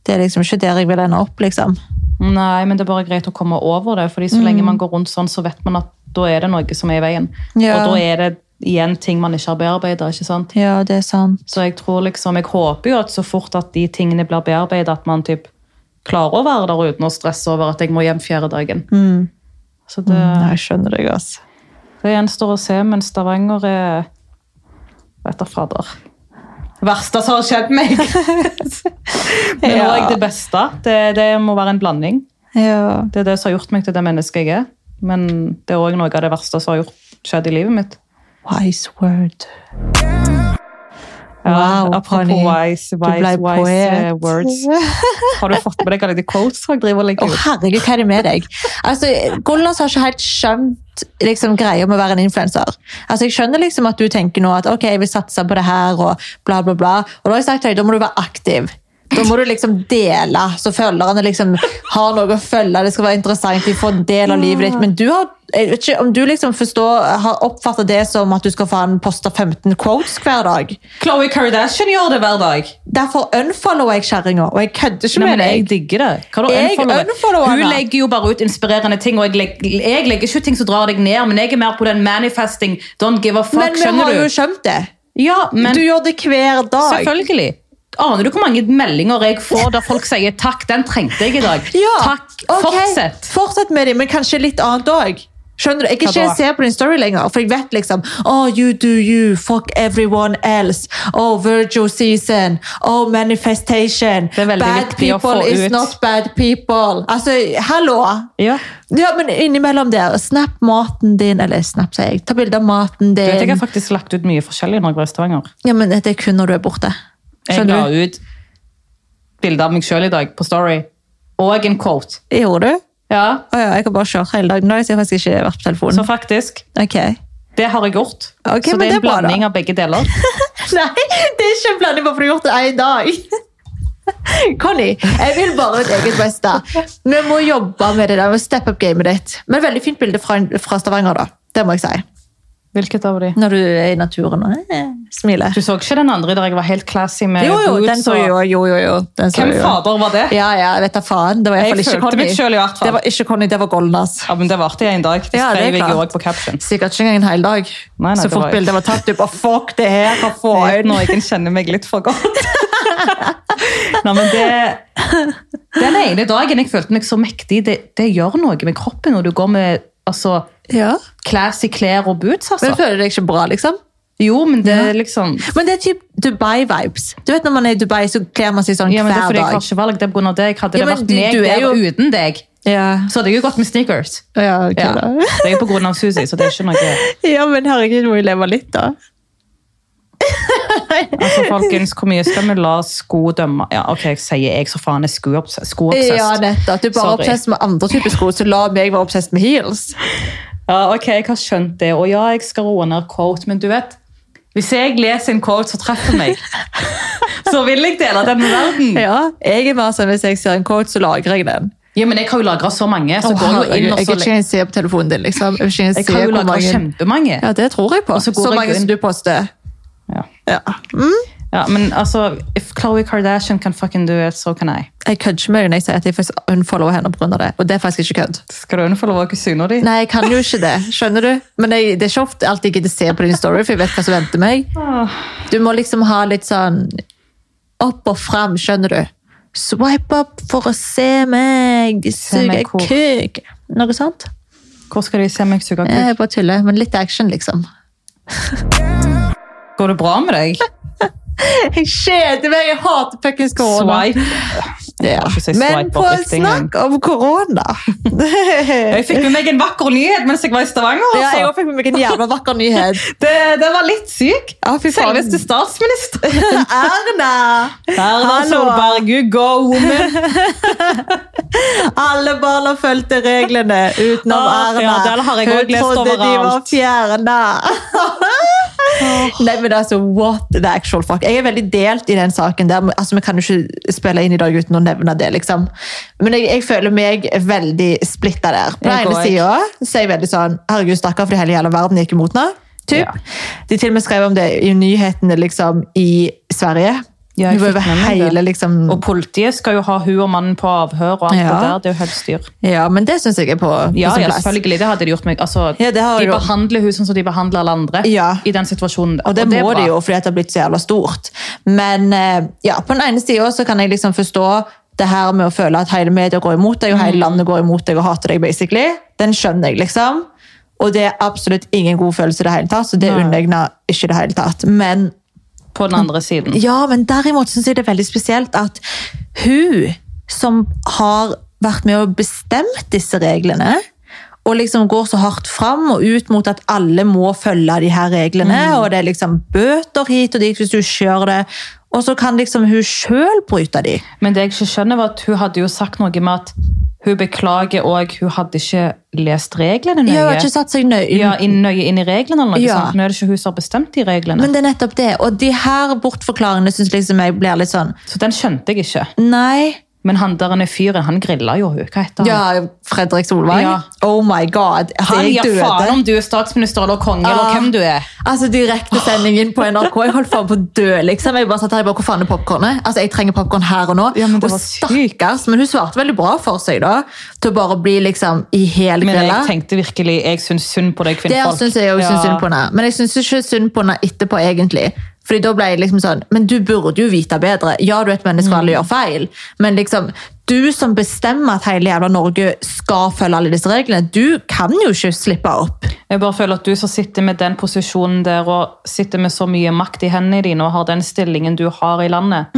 Speaker 1: Det er liksom ikke der jeg vil ende opp, liksom.
Speaker 2: Nei, men det er bare greit å komme over det, fordi så
Speaker 1: Mm.
Speaker 2: lenge man går rundt sånn, så vet man at da er det noe som er i veien.
Speaker 1: Ja.
Speaker 2: Og da er det igjen ting man ikke har bearbeidet, ikke sant?
Speaker 1: Ja, det er sant.
Speaker 2: Så jeg tror liksom, jeg håper jo at så fort at de tingene blir bearbeidet, at man typ klarer å være der uten å stresse over at jeg må hjem fjerde dagen.
Speaker 1: Mm.
Speaker 2: Så det,
Speaker 1: Nei, jeg skjønner deg, altså.
Speaker 2: det gjenstår å se, men Stavanger er, vet du, fader. Det verste som har
Speaker 1: *laughs*
Speaker 2: skjedd meg. Men
Speaker 1: Ja.
Speaker 2: også det beste. Det, det må være en blanding.
Speaker 1: Ja.
Speaker 2: Det er det som har gjort meg til det mennesket jeg er. Men det er òg noe av det verste som har gjort, skjedd i livet mitt.
Speaker 1: Wise word.
Speaker 2: Ja,
Speaker 1: Wow,
Speaker 2: apropos
Speaker 1: Connie.
Speaker 2: wise,
Speaker 1: Du ble
Speaker 2: wise, wise eh,
Speaker 1: poet. *laughs*
Speaker 2: words. Har du fått med deg alle de quotes jeg driver og
Speaker 1: Å,
Speaker 2: legger ut?
Speaker 1: herregud, hva er det med deg? Altså, Gollas har ikke helt skjønt liksom, greia med å være en influenser. Altså, jeg skjønner liksom at du tenker nå at ok, jeg vil satse på det her, og bla, bla, bla. Og da har jeg sagt til deg, da må du være aktiv. Da må du liksom dele, så følgerne liksom har noe å følge. Det skal være interessant, de får en del av livet ditt. Men du har, jeg vet ikke om du liksom forstår, har oppfattet det som at du skal faen poste 15 quotes hver dag.
Speaker 2: Khloe Kardashian gjør det hver dag.
Speaker 1: Derfor unfollower jeg kjerringa, og jeg kødder ikke
Speaker 2: Nei,
Speaker 1: med
Speaker 2: men jeg
Speaker 1: deg.
Speaker 2: digger det. Hva da,
Speaker 1: Jeg
Speaker 2: unfollower?
Speaker 1: unfollower
Speaker 2: Hun
Speaker 1: henne.
Speaker 2: legger jo bare ut inspirerende ting, og jeg legger, jeg legger ikke ut ting som drar deg ned, men jeg er mer på den manifesting. Don't give a fuck,
Speaker 1: Men vi har
Speaker 2: skjønner
Speaker 1: jo
Speaker 2: du?
Speaker 1: skjønt det.
Speaker 2: Ja, men
Speaker 1: Du gjør det hver dag.
Speaker 2: Selvfølgelig. Aner du hvor mange meldinger jeg får der folk sier 'takk, den trengte jeg i dag'?
Speaker 1: Ja,
Speaker 2: Takk,
Speaker 1: ok.
Speaker 2: fortsett.
Speaker 1: Fortsett med det, men kanskje litt annet òg. Skjønner du? Jeg kan
Speaker 2: Hva da?
Speaker 1: ikke se på din story lenger, for jeg vet liksom Oh, you do you. Fuck everyone else. Oh, Virgil season. Oh, manifestation.
Speaker 2: er veldig
Speaker 1: bad
Speaker 2: viktig å
Speaker 1: people
Speaker 2: få
Speaker 1: is
Speaker 2: ut.
Speaker 1: not bad people. Altså, hallo!
Speaker 2: Ja.
Speaker 1: Ja, men innimellom der. Snap maten din. Eller snap, sier jeg. Ta bilde av maten
Speaker 2: Du vet, jeg
Speaker 1: din.
Speaker 2: har faktisk lagt ut mye forskjellig når jeg var i Stavanger.
Speaker 1: Ja, men det er kun når du er borte.
Speaker 2: Jeg la
Speaker 1: Skjønner du?
Speaker 2: ut bilde av meg sjøl i dag på Story. Og en quote.
Speaker 1: Gjorde du?
Speaker 2: Ja,
Speaker 1: Å ja, jeg kan bare kjøre hele dagen. Nå har jeg faktisk ikke vært på telefonen.
Speaker 2: Så faktisk,
Speaker 1: Ok.
Speaker 2: det har jeg gjort.
Speaker 1: Ok,
Speaker 2: så
Speaker 1: men
Speaker 2: det
Speaker 1: det
Speaker 2: er en
Speaker 1: er bra, da.
Speaker 2: blanding av begge
Speaker 1: *laughs*
Speaker 2: deler.
Speaker 1: *laughs* Nei, det er ikke en blanding bare for du har gjort det en dag. *laughs* Connie, jeg vil bare ditt eget beste. Vi må jobbe med det der, vi må steppe opp gamet ditt. Men veldig fint bilde fra, fra Stavanger, da. Det må jeg si.
Speaker 2: Hvilket av de?
Speaker 1: Når du er i naturen og eh, smiler.
Speaker 2: Du så ikke den andre der jeg var helt classy med
Speaker 1: Jo, jo,
Speaker 2: boots
Speaker 1: den så
Speaker 2: og-
Speaker 1: jo, jo, jo. jo. Den så
Speaker 2: Hvem
Speaker 1: jo.
Speaker 2: fader var det?
Speaker 1: Ja, ja, jeg vet da faen. Det var i
Speaker 2: Jeg
Speaker 1: hvert fall ikke
Speaker 2: følte meg
Speaker 1: Connie.
Speaker 2: selv i hvert fall.
Speaker 1: Det var ikke Connie, det var Golnas.
Speaker 2: Ja, men Det varte i en dag. Det
Speaker 1: Ja, det er
Speaker 2: skrev jeg jo
Speaker 1: klart.
Speaker 2: også på caption.
Speaker 1: Sikkert ikke engang en hel dag.
Speaker 2: nei,
Speaker 1: så
Speaker 2: det
Speaker 1: fort
Speaker 2: var-
Speaker 1: bildet var tatt, du bare fuck det her, hva
Speaker 2: Jeg vet
Speaker 1: faen?
Speaker 2: Når jeg kjenner meg litt
Speaker 1: *laughs*
Speaker 2: for godt. Nei, men det, den ene dagen jeg følte meg så mektig, det, det gjør noe med kroppen når du går med altså,
Speaker 1: Ja.
Speaker 2: classy klær og boots.
Speaker 1: Men
Speaker 2: Altså.
Speaker 1: føler du deg ikke bra, liksom?
Speaker 2: Jo, men det er liksom
Speaker 1: Men det er typ Dubai-vibes. Du vet Når man er i Dubai, så kler man seg sånn
Speaker 2: ja, men Det er
Speaker 1: hver
Speaker 2: fordi jeg har
Speaker 1: dag.
Speaker 2: ikke valg. Det er på grunn av deg. Hadde
Speaker 1: Ja,
Speaker 2: det
Speaker 1: men
Speaker 2: vært
Speaker 1: du-
Speaker 2: meg
Speaker 1: du er
Speaker 2: der
Speaker 1: jo-
Speaker 2: uten deg,
Speaker 1: Ja.
Speaker 2: så hadde jeg jo gått med sneakers.
Speaker 1: Ja, ok
Speaker 2: Ja.
Speaker 1: da.
Speaker 2: Det er jo på grunn av Susi, så det er ikke noe
Speaker 1: *laughs* ja, men herregud, må vi leve litt, da.
Speaker 2: Altså, folkens, Hvor mye skal vi la sko dømme? Ja, ok, Jeg sier jeg så faen er skoobs- skoobsessed.
Speaker 1: Ja, nettopp. Du er bare
Speaker 2: Sorry.
Speaker 1: obsess med andre typer sko, så la meg være obsess med heels.
Speaker 2: Ja, ok, jeg har skjønt det, og ja, jeg skal roe ned quote, men du vet, hvis jeg leser en quote som
Speaker 1: *laughs*
Speaker 2: treffer meg, så vil jeg dele den med verden.
Speaker 1: Ja, jeg er mer sånn Hvis jeg ser en coat, så lagrer jeg den.
Speaker 2: Ja, men jeg har jo lagret så mange, så
Speaker 1: Å,
Speaker 2: går jeg jo
Speaker 1: herregud,
Speaker 2: inn og
Speaker 1: jeg
Speaker 2: så...
Speaker 1: kan ikke engang se på telefonen din, liksom. Jeg, kan ikke
Speaker 2: Jeg
Speaker 1: engang se
Speaker 2: har jo
Speaker 1: hvor
Speaker 2: lagret
Speaker 1: mange...
Speaker 2: kjempemange.
Speaker 1: Ja, det tror jeg på. Så,
Speaker 2: så går jeg
Speaker 1: mange
Speaker 2: inn-
Speaker 1: som du poster.
Speaker 2: Ja.
Speaker 1: Ja. Mm.
Speaker 2: Ja, men altså, if Khloe Kardashian can fucking do it, so can I.
Speaker 1: Jeg kødder ikke med deg når jeg sier at jeg faktisk unfollower henne pga. det. Og det er faktisk ikke kødd.
Speaker 2: Skal du unfollowe kusina di?
Speaker 1: Nei, jeg kan jo ikke det. Skjønner du? Men jeg, det er ikke ofte alltid jeg gidder se på din story, for jeg vet hva som venter meg. Du må liksom ha litt sånn opp og fram, skjønner du? Swipe up for å se meg, suge
Speaker 2: meg hvor?
Speaker 1: kuk. Noe sånt.
Speaker 2: Hvor skal de se meg suge kuk?
Speaker 1: Jeg bare tuller, men litt action, liksom.
Speaker 2: Går det bra med deg?
Speaker 1: *laughs* Jeg kjeder meg! Jeg hater fuckings korona.
Speaker 2: Swipe.
Speaker 1: Ja.
Speaker 2: ikke si
Speaker 1: Men
Speaker 2: swipe
Speaker 1: på
Speaker 2: opp riktig engang.
Speaker 1: snakk om korona
Speaker 2: Jeg fikk med meg en vakker nyhet mens jeg var i Stavanger.
Speaker 1: *laughs* Ja, jeg
Speaker 2: Altså.
Speaker 1: også fikk med meg en jævla vakker nyhet.
Speaker 2: det, det var litt syk.
Speaker 1: Ja, fy faen.
Speaker 2: Selveste statsminister.
Speaker 1: *laughs* Erna!
Speaker 2: Erna
Speaker 1: Hallo.
Speaker 2: Solberg, you go woman.
Speaker 1: Alle barna fulgte reglene utenom
Speaker 2: Ah,
Speaker 1: Erna.
Speaker 2: ja, den har jeg også lest
Speaker 1: Hun trodde de var
Speaker 2: overalt.
Speaker 1: fjerna. Nei, men altså, what the actual fuck. Jeg er veldig delt i den saken. der. Altså, Vi kan jo ikke spille inn i dag uten å nevne det. liksom. Men jeg, jeg føler meg veldig splitta der. På den
Speaker 2: Jeg
Speaker 1: ene
Speaker 2: går.
Speaker 1: sida er jeg veldig sånn Herregud, stakkar, fordi hele jævla verden gikk imot nå. Typ.
Speaker 2: Ja.
Speaker 1: De til og med skrev om det i nyhetene liksom, i Sverige.
Speaker 2: Ja, jeg
Speaker 1: Hun var
Speaker 2: fikk
Speaker 1: over
Speaker 2: med meg det.
Speaker 1: hele liksom...
Speaker 2: *laughs* Og politiet skal jo ha hun og mannen på avhør og alt
Speaker 1: Ja.
Speaker 2: det der. Det er jo helt styr.
Speaker 1: Ja, men det syns jeg er på, på
Speaker 2: Ja,
Speaker 1: sin
Speaker 2: ja,
Speaker 1: plass.
Speaker 2: selvfølgelig. Det hadde de gjort meg. Altså,
Speaker 1: Ja, det har
Speaker 2: de
Speaker 1: jo-
Speaker 2: behandler hun sånn som de behandler alle andre
Speaker 1: Ja.
Speaker 2: i den situasjonen. der.
Speaker 1: Og det,
Speaker 2: er
Speaker 1: må
Speaker 2: bra.
Speaker 1: de jo, fordi at det har blitt så jævla stort. Men eh, ja, på den ene sida så kan jeg liksom forstå det her med å føle at hele media går imot deg, og
Speaker 2: Mm.
Speaker 1: hele landet går imot deg og hater deg, basically. Den skjønner jeg, liksom. Og det er absolutt ingen god følelse i det hele tatt, så det
Speaker 2: Nei.
Speaker 1: underegner ikke i det hele tatt. Men
Speaker 2: På den andre
Speaker 1: *laughs*
Speaker 2: siden.
Speaker 1: ja, men derimot syns jeg det er veldig spesielt at hun som har vært med og bestemt disse reglene, og liksom går så hardt fram og ut mot at alle må følge de her reglene, og det er liksom bøter hit og dit hvis du ikke gjør det, og så kan liksom hun sjøl bryte de.
Speaker 2: Men det jeg ikke skjønner var at hun hadde jo sagt noe med at hun beklager og hun hadde ikke lest reglene
Speaker 1: Hun
Speaker 2: nøye.
Speaker 1: har ikke satt seg nøye inn.
Speaker 2: ja, inn, nøye inn i reglene eller noe
Speaker 1: Ja.
Speaker 2: sånt. Nå er det ikke hun som har bestemt de reglene.
Speaker 1: Men det er nettopp det, og de her bortforklaringene syns liksom jeg blir litt sånn
Speaker 2: Så den skjønte jeg ikke.
Speaker 1: Nei.
Speaker 2: Men han der ene fyren, han grilla jo hun. Hva heter han?
Speaker 1: Ja, Fredrik Solvang.
Speaker 2: Ja.
Speaker 1: Oh my god.
Speaker 2: han
Speaker 1: jeg
Speaker 2: gir
Speaker 1: døde.
Speaker 2: faen om du er Ah. statsminister eller konge
Speaker 1: Ja.
Speaker 2: eller hvem du er.
Speaker 1: Altså Direktesendingen på NRK. Jeg holdt faen på å dø. liksom. Jeg bare satt her jeg bare, Hvor faen er popkornet? Altså, jeg trenger popkorn her og nå.
Speaker 2: Ja, men det
Speaker 1: og
Speaker 2: var sykt.
Speaker 1: stakkars, men hun svarte veldig bra for seg, da. Til å bare bli liksom i hel
Speaker 2: Men jeg
Speaker 1: grilla.
Speaker 2: tenkte virkelig, jeg syns synd på deg,
Speaker 1: Det
Speaker 2: kvinnfolk.
Speaker 1: syns jeg også synd synd på henne. Men jeg syns ikke synd på henne etterpå, egentlig. Fordi da ble jeg liksom sånn Men du burde jo vite bedre. Ja, du er et menneske og
Speaker 2: Mm.
Speaker 1: alle gjør feil, men liksom du som bestemmer at hele jævla Norge skal følge alle disse reglene, du kan jo ikke slippe opp.
Speaker 2: Jeg bare føler at du som sitter med den posisjonen der, og sitter med så mye makt i hendene dine, og har den stillingen du har i landet,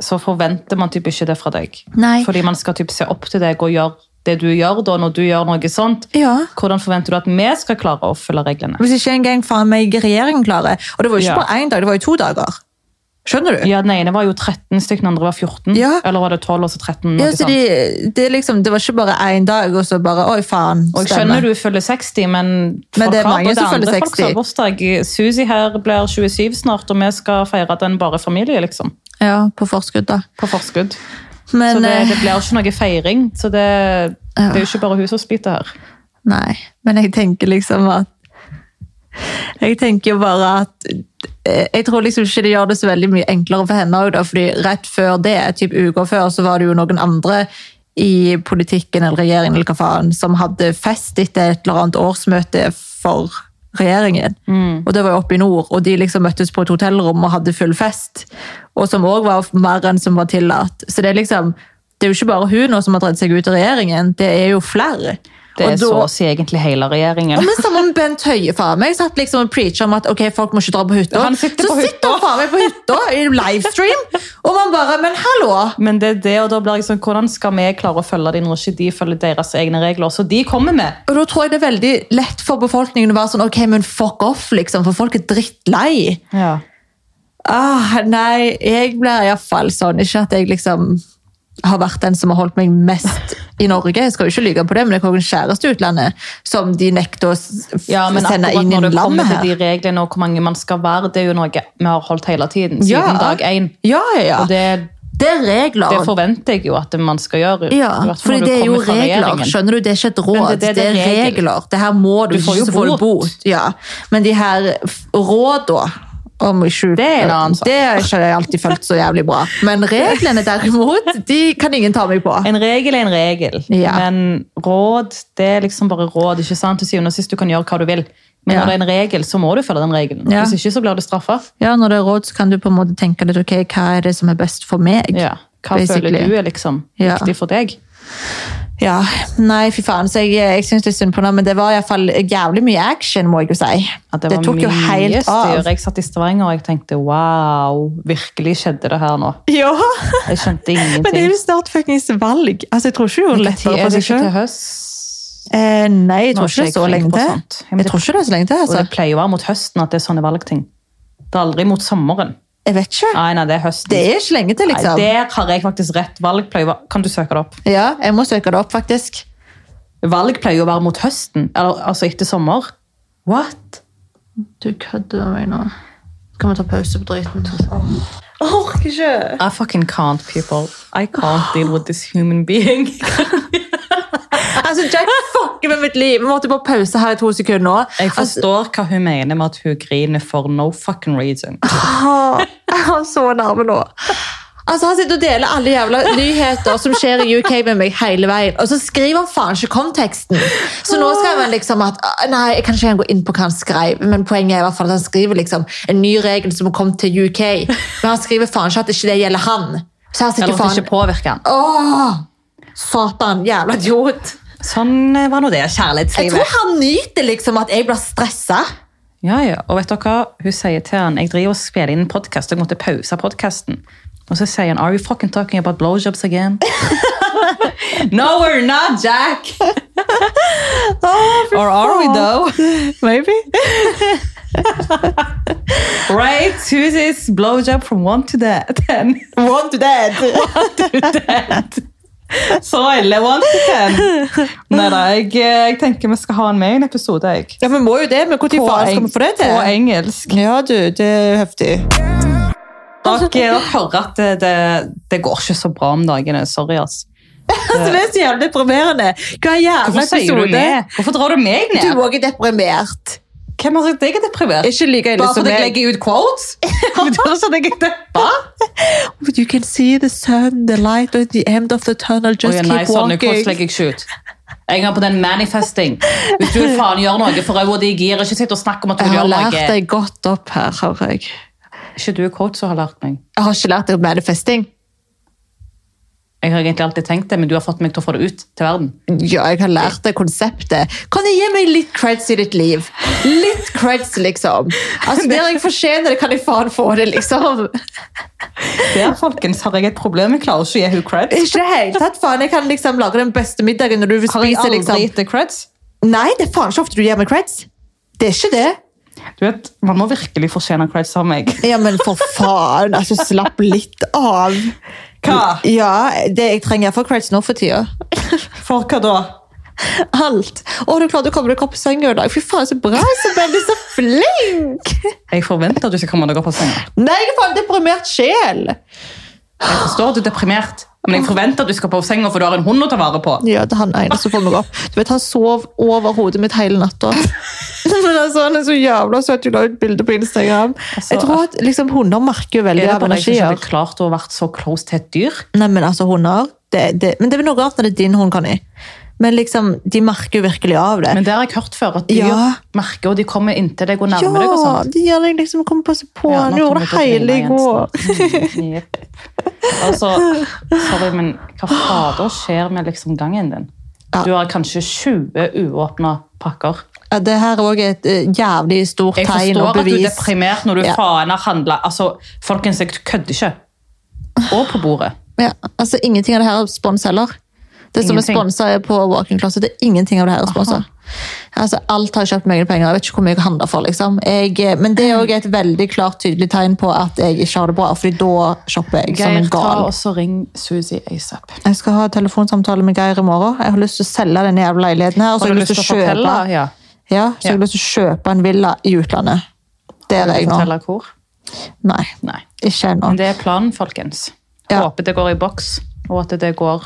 Speaker 2: så forventer man typ ikke det fra deg.
Speaker 1: Mm. Nei.
Speaker 2: Fordi man skal typ se opp til deg og gjøre det du gjør da, når du gjør noe sånt.
Speaker 1: Ja.
Speaker 2: Hvordan forventer du at vi skal klare å følge reglene?
Speaker 1: Hvis ikke engang faen meg regjeringen klarer. Og det var jo ikke
Speaker 2: Ja.
Speaker 1: bare én dag, det var jo to dager. Skjønner du?
Speaker 2: Ja, Den ene var jo 13 stykker, den andre var 14.
Speaker 1: Ja.
Speaker 2: Eller var det 12 og så 13? noe
Speaker 1: Ja, så
Speaker 2: sånt.
Speaker 1: de, det, er liksom, det var ikke bare én dag, og så bare Oi, faen.
Speaker 2: Og jeg skjønner du fyller 60, men,
Speaker 1: Men det er
Speaker 2: folk har
Speaker 1: mange
Speaker 2: både
Speaker 1: som følger
Speaker 2: andre folk
Speaker 1: 60.
Speaker 2: som har bursdag. Susi her blir 27 snart, og vi skal feire den bare familie, liksom.
Speaker 1: Ja, på forskudd, da.
Speaker 2: På forskudd.
Speaker 1: Men
Speaker 2: så det,
Speaker 1: eh,
Speaker 2: det blir ikke noe feiring. Så det, det er jo ikke bare hun som sliter her.
Speaker 1: Nei. Men jeg tenker liksom at Jeg tenker jo bare at eh, jeg tror liksom ikke det gjør det så veldig mye enklere for henne. også Da, fordi rett før det, typ uker før, så var det jo noen andre i politikken eller regjeringen eller hva faen, som hadde fest etter et eller annet årsmøte for regjeringen.
Speaker 2: Mm.
Speaker 1: Og det var jo oppe i nord, og de liksom møttes på et hotellrom og hadde full fest. Og som òg var mer enn som var tillatt. Så det er liksom det er jo ikke bare hun nå som har dredd seg ut av regjeringen, det er jo flere.
Speaker 2: Det
Speaker 1: Og
Speaker 2: er
Speaker 1: da-
Speaker 2: så å si egentlig hele
Speaker 1: ja, *laughs*
Speaker 2: regjeringen.
Speaker 1: men Samme med Bent Høie. faen meg. Jeg satt liksom og preacha om at ok, folk må ikke dra på hytta.
Speaker 2: Han sitter
Speaker 1: Så
Speaker 2: på
Speaker 1: sitter han
Speaker 2: hytta.
Speaker 1: faen meg på hytta i livestream, og man bare Men hallo!
Speaker 2: Men det er det, og da blir jeg sånn, hvordan skal vi klare å følge det når ikke de følger deres egne regler? Så de kommer med.
Speaker 1: Og Da tror jeg det er veldig lett for befolkningen å være sånn ok, men fuck off, liksom, for folk er drittlei.
Speaker 2: Ja.
Speaker 1: Ah, nei, jeg blir iallfall sånn. Ikke at jeg liksom har vært den som har holdt meg mest i Norge. Jeg skal jo ikke lyve på det, men jeg har jo en kjæreste i utlandet som de nekter å s- f-
Speaker 2: men
Speaker 1: sende
Speaker 2: akkurat
Speaker 1: inn i
Speaker 2: når det
Speaker 1: landet
Speaker 2: kommer til
Speaker 1: her.
Speaker 2: de reglene og hvor mange man skal være, det er jo noe vi har holdt hele tiden, siden
Speaker 1: Ja.
Speaker 2: dag én.
Speaker 1: Ja, ja, ja.
Speaker 2: Og
Speaker 1: Det,
Speaker 2: det,
Speaker 1: er regler.
Speaker 2: det forventer jeg jo at man skal gjøre. i
Speaker 1: Ja,
Speaker 2: hvert fall
Speaker 1: for
Speaker 2: når du
Speaker 1: det er jo
Speaker 2: kommer fra
Speaker 1: regler.
Speaker 2: regjeringen.
Speaker 1: Skjønner du, det er ikke et råd.
Speaker 2: Men
Speaker 1: Det, er regler. Det her må du,
Speaker 2: Du får
Speaker 1: ikke,
Speaker 2: jo
Speaker 1: så får du
Speaker 2: bot.
Speaker 1: bot. Ja. Men de her f- råd, da om i skjul.
Speaker 2: Det er en annen sak.
Speaker 1: Det har ikke jeg alltid følt så jævlig bra. Men reglene derimot, de kan ingen ta meg på.
Speaker 2: En regel er en regel,
Speaker 1: Ja.
Speaker 2: men råd det er liksom bare råd. ikke sant? Til syvende og sist du kan gjøre hva du vil. Men
Speaker 1: Ja.
Speaker 2: når det er en regel, så må du følge den regelen.
Speaker 1: Ja.
Speaker 2: Hvis ikke, så blir du straffa.
Speaker 1: Ja, Når det er råd, så kan du på en måte tenke litt ok, hva er det som er best for meg.
Speaker 2: Ja. Hva
Speaker 1: Basically.
Speaker 2: føler du er liksom
Speaker 1: Ja.
Speaker 2: viktig for deg?
Speaker 1: Ja, Nei, fy faen. så Jeg, jeg syns litt synd på henne, men det var i hvert fall jævlig mye action, må jeg jo si.
Speaker 2: At det,
Speaker 1: det
Speaker 2: var
Speaker 1: tok jo
Speaker 2: mye
Speaker 1: helt
Speaker 2: styr.
Speaker 1: av.
Speaker 2: Jeg satt i Stavanger og jeg tenkte wow, virkelig skjedde det her nå.
Speaker 1: Ja,
Speaker 2: Jeg
Speaker 1: *laughs*
Speaker 2: skjønte
Speaker 1: Men det er
Speaker 2: ingenting.
Speaker 1: jo snart fuckings valg. Altså, Jeg tror ikke hun er lettere
Speaker 2: Er
Speaker 1: for seg
Speaker 2: det ikke til
Speaker 1: sjøl.
Speaker 2: høst?
Speaker 1: Eh, nei, jeg tror ikke
Speaker 2: Nå er
Speaker 1: det er
Speaker 2: ikke
Speaker 1: så
Speaker 2: jeg
Speaker 1: lenge
Speaker 2: flink på
Speaker 1: til.
Speaker 2: sånt. Ja, men
Speaker 1: Jeg
Speaker 2: det-
Speaker 1: tror ikke det er så lenge til,
Speaker 2: Og det
Speaker 1: altså.
Speaker 2: pleier å være mot høsten at det er sånne valgting. Det er aldri mot sommeren.
Speaker 1: Jeg vet ikke.
Speaker 2: Nei, nei, det er høsten.
Speaker 1: Det er ikke lenge til, liksom.
Speaker 2: Nei, der har jeg faktisk rett. Valg pleier å være- Kan du søke det opp?
Speaker 1: Ja, jeg må søke det opp, faktisk.
Speaker 2: Valg pleier å være mot høsten, eller, altså etter sommer. What?
Speaker 1: Du kødder med meg nå. Kan vi ta pause på driten? Orker ikke!
Speaker 2: I fucking can't, people. I can't deal with this human
Speaker 1: *laughs*
Speaker 2: being.
Speaker 1: Altså, Jack fucker med mitt liv! Vi måtte bare pause her i to sekunder nå.
Speaker 2: Jeg forstår hva hun mener med at hun griner for no fucking reason.
Speaker 1: Ah, *laughs* Jeg har så nærme nå. Altså, Han sitter og deler alle jævla nyheter som skjer i UK med meg hele veien, og så skriver han faen ikke konteksten! Så nå skrev han liksom at ah, Nei, jeg kan ikke engang gå inn på hva han skrev, men poenget er i hvert fall at han skriver liksom en ny regel som kom til UK, men han skriver faen ikke at ikke det gjelder han. Så her
Speaker 2: Eller
Speaker 1: sitter
Speaker 2: at det
Speaker 1: faen
Speaker 2: ikke påvirker han.
Speaker 1: Åh! Satan, jævla idiot.
Speaker 2: Sånn eh, var nå det
Speaker 1: Jeg tror
Speaker 2: kjærlighetslivet.
Speaker 1: han nyter liksom at jeg blir stressa.
Speaker 2: Ja, ja. Og vet dere hva hun sier til han? Jeg driver og spiller inn en podcast, jeg måtte pause podcasten. Og så sier han, are you fucking talking about blowjobs again? *laughs* no, we're not, Jack!
Speaker 1: *laughs*
Speaker 2: Or are we though?
Speaker 1: Maybe.
Speaker 2: *laughs* Right? Who's this blowjob from one to the *laughs* ten?
Speaker 1: Want to dead.
Speaker 2: Så ille, one to ten. Nei da, jeg, eh, jeg tenker vi skal ha han med i en episode, jeg.
Speaker 1: Ja, vi må jo det, men når faen skal vi få det til?
Speaker 2: På engelsk.
Speaker 1: Ja, du, det er heftig.
Speaker 2: Dere, dere hører at det, det, det går ikke så bra om dagene. Sorry, ass.
Speaker 1: Altså, det er *laughs* så jævlig deprimerende. Hva jævla
Speaker 2: Hvorfor sier du
Speaker 1: episode?
Speaker 2: meg? Hvorfor drar du meg
Speaker 1: Du
Speaker 2: ned?
Speaker 1: òg er deprimert.
Speaker 2: Hvem har sagt deg er deprimert?
Speaker 1: Ikke like ille
Speaker 2: Bare
Speaker 1: som
Speaker 2: fordi jeg
Speaker 1: meg.
Speaker 2: legger ut *laughs* quotes? Betyr det at jeg er deppa?
Speaker 1: But you can see the sun, the light at the end of the tunnel. Just
Speaker 2: Oi, nei, sånne quotes legger jeg ikke ut. En gang på den manifesting. Hvis du vil faen gjøre noe, for øvrig de gir ikke sitt og snakke om at du
Speaker 1: Jeg har
Speaker 2: gjør noe.
Speaker 1: lært deg godt opp her, har jeg.
Speaker 2: Ikke du quotes som har lært meg.
Speaker 1: Jeg har ikke lært deg manifesting.
Speaker 2: Jeg har egentlig alltid tenkt det, men du har fått meg til å få det ut til verden.
Speaker 1: Ja, jeg har lært det konseptet. Kan jeg gi meg litt creds i ditt liv? Litt creds, liksom. Altså, Der jeg fortjener det, kan jeg faen få det, liksom.
Speaker 2: Der, folkens, har jeg et problem. Jeg klarer ikke å gi henne creds.
Speaker 1: Ikke helt tatt, faen. Jeg kan liksom lage den beste middagen når du vil
Speaker 2: Har jeg
Speaker 1: spise,
Speaker 2: aldri
Speaker 1: liksom.
Speaker 2: gitt deg creds?
Speaker 1: Nei, det er faen ikke ofte du gir meg creds. Det er ikke det.
Speaker 2: Du vet, man må virkelig fortjene creds av meg.
Speaker 1: Ja, men for faen. Altså, slapp litt av.
Speaker 2: Hva?
Speaker 1: Ja, det, jeg trenger iallfall creds nå for tida. *laughs*
Speaker 2: For hva da?
Speaker 1: Alt. Å, du klarte å komme deg opp på senga i dag. Fy faen, så bra, Isabel. Du er så flink!
Speaker 2: Jeg forventer at du skal komme deg opp av senga.
Speaker 1: Nei, jeg er faen deprimert sjel.
Speaker 2: Jeg forstår at du er deprimert, men jeg forventer at du skal på senga, for du har en hund å ta vare på.
Speaker 1: Ja, det er han ene som får meg opp. Du vet, Han sov over hodet mitt hele natta. *laughs* Men altså, Han er så jævla søt. Du la ut bilde på Instagram. jeg tror at liksom, Hunder merker jo veldig
Speaker 2: Altså, Er det
Speaker 1: av
Speaker 2: bare jeg som ikke
Speaker 1: energier.
Speaker 2: hadde klart å ha vært så close til et dyr?
Speaker 1: Nei, men altså, hunder det, det, Men det er vel noe rart når det er din hund, Conny. Men liksom, de merker jo virkelig av det.
Speaker 2: Men det har jeg hørt før, at dyr
Speaker 1: Ja.
Speaker 2: merker, og de kommer inntil deg og
Speaker 1: ja,
Speaker 2: nærmer deg og sånn. sånt.
Speaker 1: de gjør deg liksom komme passe på.
Speaker 2: Ja,
Speaker 1: Han
Speaker 2: nå
Speaker 1: gjorde det
Speaker 2: kommer
Speaker 1: hele
Speaker 2: jeg til å
Speaker 1: i
Speaker 2: grine
Speaker 1: går.
Speaker 2: igjen snart. Mm, jepp. Altså, sorry, men hva fader skjer med liksom gangen din?
Speaker 1: Ja.
Speaker 2: Du har kanskje 20 uåpna pakker.
Speaker 1: Ja, det her er òg et eh, jævlig stort
Speaker 2: Jeg
Speaker 1: tegn og
Speaker 2: forstår at du er
Speaker 1: bevis.
Speaker 2: deprimert når du
Speaker 1: Ja.
Speaker 2: faen har handla. Altså, folkens, jeg kødder ikke. Og på bordet.
Speaker 1: Ja, altså, ingenting av det her er spons heller. Det som er
Speaker 2: Ingenting.
Speaker 1: sponsa er på walking closet, det er ingenting av det her er sponsa. Altså, alt har jeg kjøpt med egne penger. Jeg vet ikke hvor mye jeg handler for. liksom. Jeg, eh, men det er òg et veldig klart tydelig tegn på at jeg ikke har det bra, fordi da shopper jeg som
Speaker 2: Geir,
Speaker 1: en
Speaker 2: ta
Speaker 1: gal.
Speaker 2: og så ring Susi ASAP.
Speaker 1: Jeg skal ha telefonsamtale med Geir i morgen. Jeg har lyst til å selge denne jævla leiligheten her. Og så har jeg lyst til å kjøpe,
Speaker 2: Ja.
Speaker 1: ja, så har jeg lyst til å kjøpe en villa i utlandet. Der er jeg nå.
Speaker 2: Fortelle hvor?
Speaker 1: Nei,
Speaker 2: Nei.
Speaker 1: ikke ennå.
Speaker 2: Men det er planen, folkens.
Speaker 1: Ja.
Speaker 2: Håper det går i boks, og at det går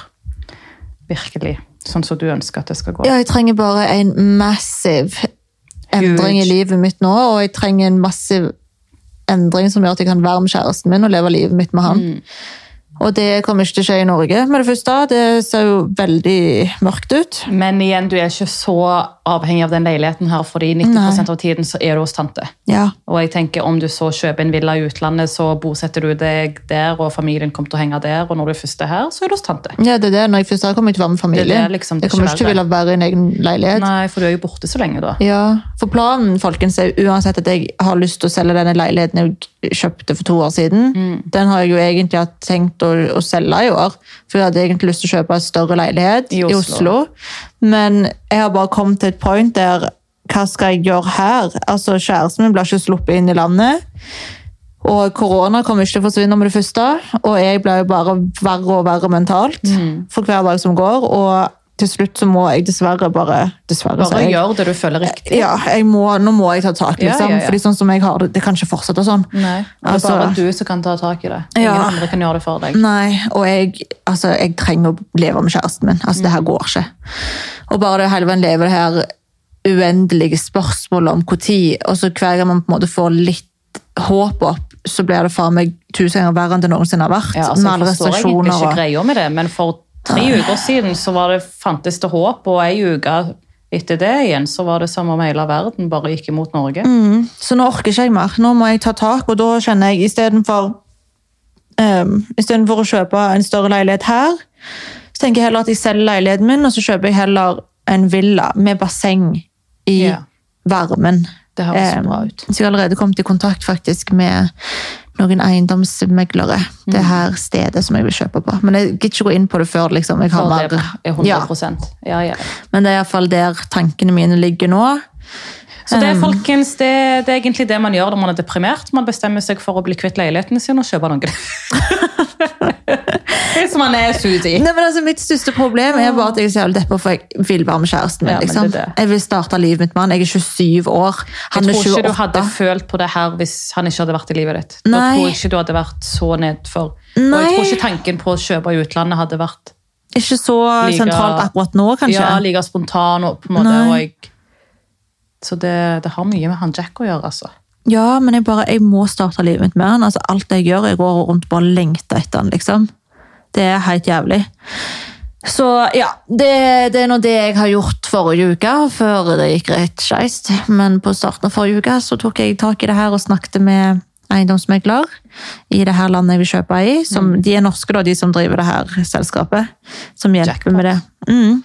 Speaker 2: virkelig sånn som du ønsker at det skal gå.
Speaker 1: Ja, jeg trenger bare en massiv endring i
Speaker 2: Huge.
Speaker 1: livet mitt nå, og jeg trenger en massiv endring som gjør at jeg kan være med kjæresten min og leve livet mitt med han.
Speaker 2: Mm.
Speaker 1: Og det kommer ikke til å skje i Norge med det første. Det ser jo veldig mørkt ut.
Speaker 2: Men igjen, du er ikke så avhengig av den leiligheten her, fordi 90
Speaker 1: Nei.
Speaker 2: av tiden så er du hos tante.
Speaker 1: Ja,
Speaker 2: Og jeg tenker Om du så kjøper en villa i utlandet, så bosetter du deg der, og familien kommer til å henge der, og når du først er her, så er du hos tante.
Speaker 1: ja det er det. Når jeg først har kommet til å være med familien.
Speaker 2: Det er det liksom det
Speaker 1: jeg kommer ikke til å
Speaker 2: svære.
Speaker 1: ville være i en egen leilighet.
Speaker 2: Nei, for du er jo borte så lenge, da.
Speaker 1: Ja, for planen folkens, er jo uansett at jeg har lyst til å selge denne leiligheten jeg kjøpte for to år siden.
Speaker 2: Mm.
Speaker 1: Den har jeg jo egentlig hatt tenkt å, å selge i år. For jeg hadde egentlig lyst til å kjøpe en større leilighet
Speaker 2: I
Speaker 1: i Oslo.
Speaker 2: Oslo.
Speaker 1: Men jeg har bare kommet til et point der hva skal jeg gjøre her? Altså, Kjæresten min blir ikke sluppet inn i landet. Og korona kommer ikke til å forsvinne med det første. Og jeg blir jo bare verre og verre mentalt
Speaker 2: Mm.
Speaker 1: for hver dag som går. Og til slutt så må jeg dessverre bare Dessverre,
Speaker 2: Bare gjør det du føler riktig.
Speaker 1: ja, jeg må, nå må jeg ta tak,
Speaker 2: Ja,
Speaker 1: liksom.
Speaker 2: ja, ja.
Speaker 1: Fordi sånn som jeg har det, det kan ikke fortsette sånn.
Speaker 2: Nei, Det er
Speaker 1: Altså-
Speaker 2: bare du som kan ta tak i det. Ingen
Speaker 1: Ja. Mm.
Speaker 2: andre kan gjøre det for deg.
Speaker 1: Nei, og jeg, altså, jeg trenger å leve med kjæresten min. Altså, det her går ikke. Og bare det hele veien leve det her uendelige spørsmålet om når, og så hver gang man på en måte får litt håp opp, så blir det faen meg tusen ganger verre enn det noensinne har vært.
Speaker 2: Ja, altså,
Speaker 1: med alle
Speaker 2: jeg forstår egentlig
Speaker 1: restriksjoner
Speaker 2: ikke
Speaker 1: og
Speaker 2: greia med det, men for tre uker siden så var det, fantes det håp, og ei uke etter det igjen så var det som om hele verden bare gikk imot Norge.
Speaker 1: mm, Så nå orker ikke jeg mer. Nå må jeg ta tak, og da kjenner jeg istedenfor um, Istedenfor å kjøpe en større leilighet her, så tenker jeg heller at jeg selger leiligheten min, og så kjøper jeg heller en villa med basseng i
Speaker 2: Ja.
Speaker 1: varmen.
Speaker 2: Det høres
Speaker 1: Em,
Speaker 2: bra ut.
Speaker 1: Så jeg har allerede kommet i kontakt faktisk med noen eiendomsmeglere.
Speaker 2: Mm.
Speaker 1: Det her stedet som jeg vil kjøpe på. Men jeg gidder ikke gå inn på det før liksom, jeg har
Speaker 2: For det
Speaker 1: mer.
Speaker 2: er 100
Speaker 1: Ja,
Speaker 2: ja, ja.
Speaker 1: men det er iallfall der tankene mine ligger nå.
Speaker 2: Så det, er,
Speaker 1: Um.
Speaker 2: folkens, det, det er egentlig det man gjør når man er deprimert. Man bestemmer seg for å bli kvitt leiligheten sin og kjøpe noen.
Speaker 1: *laughs*
Speaker 2: Hvis man er sut i.
Speaker 1: Nei, men altså, mitt største problem er bare at jeg er så jævlig deppa, for jeg vil være med kjæresten min.
Speaker 2: Ja, men det er
Speaker 1: liksom.
Speaker 2: det.
Speaker 1: Jeg vil starte livet mitt med han. Jeg er 27 år.
Speaker 2: Jeg
Speaker 1: Han er
Speaker 2: tror ikke
Speaker 1: 28.
Speaker 2: du hadde følt på det her hvis han ikke hadde vært i livet ditt. Da
Speaker 1: Nei.
Speaker 2: tror jeg ikke du hadde vært så nedfor. Og
Speaker 1: Nei.
Speaker 2: jeg tror ikke tanken på å kjøpe i utlandet hadde vært
Speaker 1: Ikke så
Speaker 2: Like-
Speaker 1: sentralt akkurat nå, kanskje.
Speaker 2: Ja, like spontan og på en måte.
Speaker 1: Nei.
Speaker 2: Og jeg, så det, det har mye med han Jack å gjøre, altså.
Speaker 1: Ja, men jeg bare, jeg må starte livet mitt med han. Altså, alt jeg gjør, jeg går rundt og bare lengter etter han, liksom. Det er helt jævlig. Så ja, det, det er nå det jeg har gjort forrige uke, før det gikk rett skeist. Men på starten av forrige uke så tok jeg tak i det her og snakket med eiendomsmegler i det her landet jeg vil kjøpe i. Som, De er norske, da, de som driver det her selskapet. Som hjelper med det. Mm.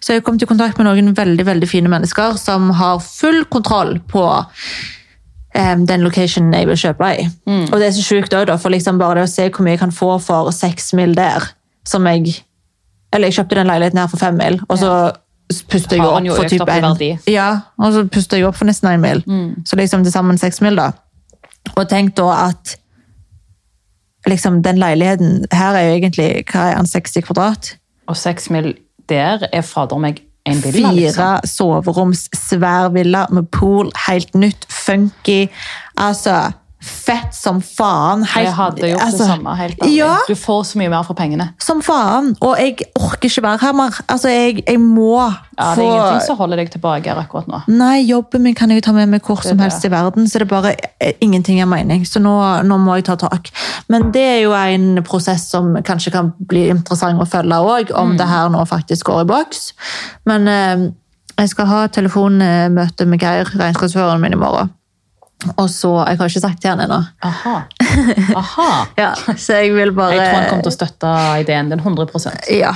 Speaker 1: Så jeg kom til kontakt med noen veldig, veldig fine mennesker som har full kontroll på em, um, den locationen jeg vil kjøpe i.
Speaker 2: Mm.
Speaker 1: Og det er så sjukt òg, for liksom bare det å se hvor mye jeg kan få for seks mil der, som jeg Eller jeg kjøpte den leiligheten her for fem mil, og så puster jeg
Speaker 2: Har
Speaker 1: opp
Speaker 2: han jo
Speaker 1: for
Speaker 2: økt
Speaker 1: typ
Speaker 2: opp i
Speaker 1: en.
Speaker 2: verdi. Mm.
Speaker 1: Ja, og så puster jeg opp for nesten en mil. Så liksom til sammen seks mil, da. Og tenk da at liksom den leiligheten her er jo egentlig hva er den, 60 kvadrat?
Speaker 2: Og seks mil der er fader meg en villa,
Speaker 1: Fire
Speaker 2: liksom.
Speaker 1: soveroms, svær villa med pool, helt nytt, funky. Altså, fett som faen.
Speaker 2: Jeg hadde gjort
Speaker 1: altså,
Speaker 2: det samme. helt ærlig.
Speaker 1: Ja,
Speaker 2: Du får så mye mer for pengene.
Speaker 1: som faen. Og jeg orker ikke være her mer. Altså, jeg, jeg må
Speaker 2: Ja, det er
Speaker 1: få
Speaker 2: ingenting som holder deg tilbake her akkurat nå.
Speaker 1: Nei, jobben min kan jeg jo ta med meg hvor som
Speaker 2: det.
Speaker 1: helst i verden, så det er bare eh, ingenting er mening. Så nå, nå må jeg ta tak. Men det er jo en prosess som kanskje kan bli interessant å følge òg, om det her nå faktisk går i boks. Men eh, jeg skal ha telefonmøte med Geir, regnskapsføreren min, i morgen. Og så, Jeg har ikke sagt til han ennå,
Speaker 2: Aha. Aha.
Speaker 1: ja, så jeg vil bare
Speaker 2: Jeg tror han kommer til å støtte ideen din 100
Speaker 1: ja,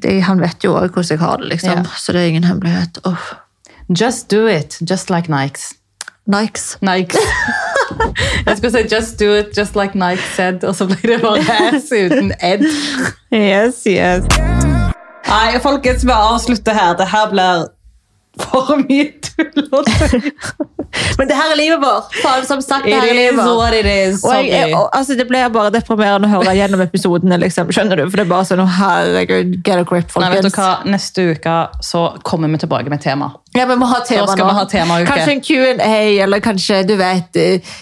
Speaker 1: det, Han vet jo òg hvordan jeg har det, liksom.
Speaker 2: Ja.
Speaker 1: så det er ingen hemmelighet. Uff.
Speaker 2: Just do it, just like Nikes.
Speaker 1: Nikes.
Speaker 2: Nikes. *laughs* Jeg skulle si just do it, just like Nike said, og så ble det bare ass uten ed.
Speaker 1: Yes, yes.
Speaker 2: Nei, folkens, vi avslutter her. Det her blir for mye tull. og tøy.
Speaker 1: *laughs* Men det her er livet vårt! Faen, som sagt, det her er livet vårt.
Speaker 2: it is.
Speaker 1: Og jeg, jeg, og, altså, det blir bare deprimerende å høre gjennom episodene, liksom. skjønner du? For det er bare sånn, å, herregud, get a grip,
Speaker 2: Nei, vet du
Speaker 1: folkens.
Speaker 2: hva? Neste uke så kommer vi tilbake med tema.
Speaker 1: Ja, men vi må ha tema
Speaker 2: Da skal
Speaker 1: nå.
Speaker 2: vi ha temauke.
Speaker 1: Kanskje en Q&A, eller kanskje, du vet, eh,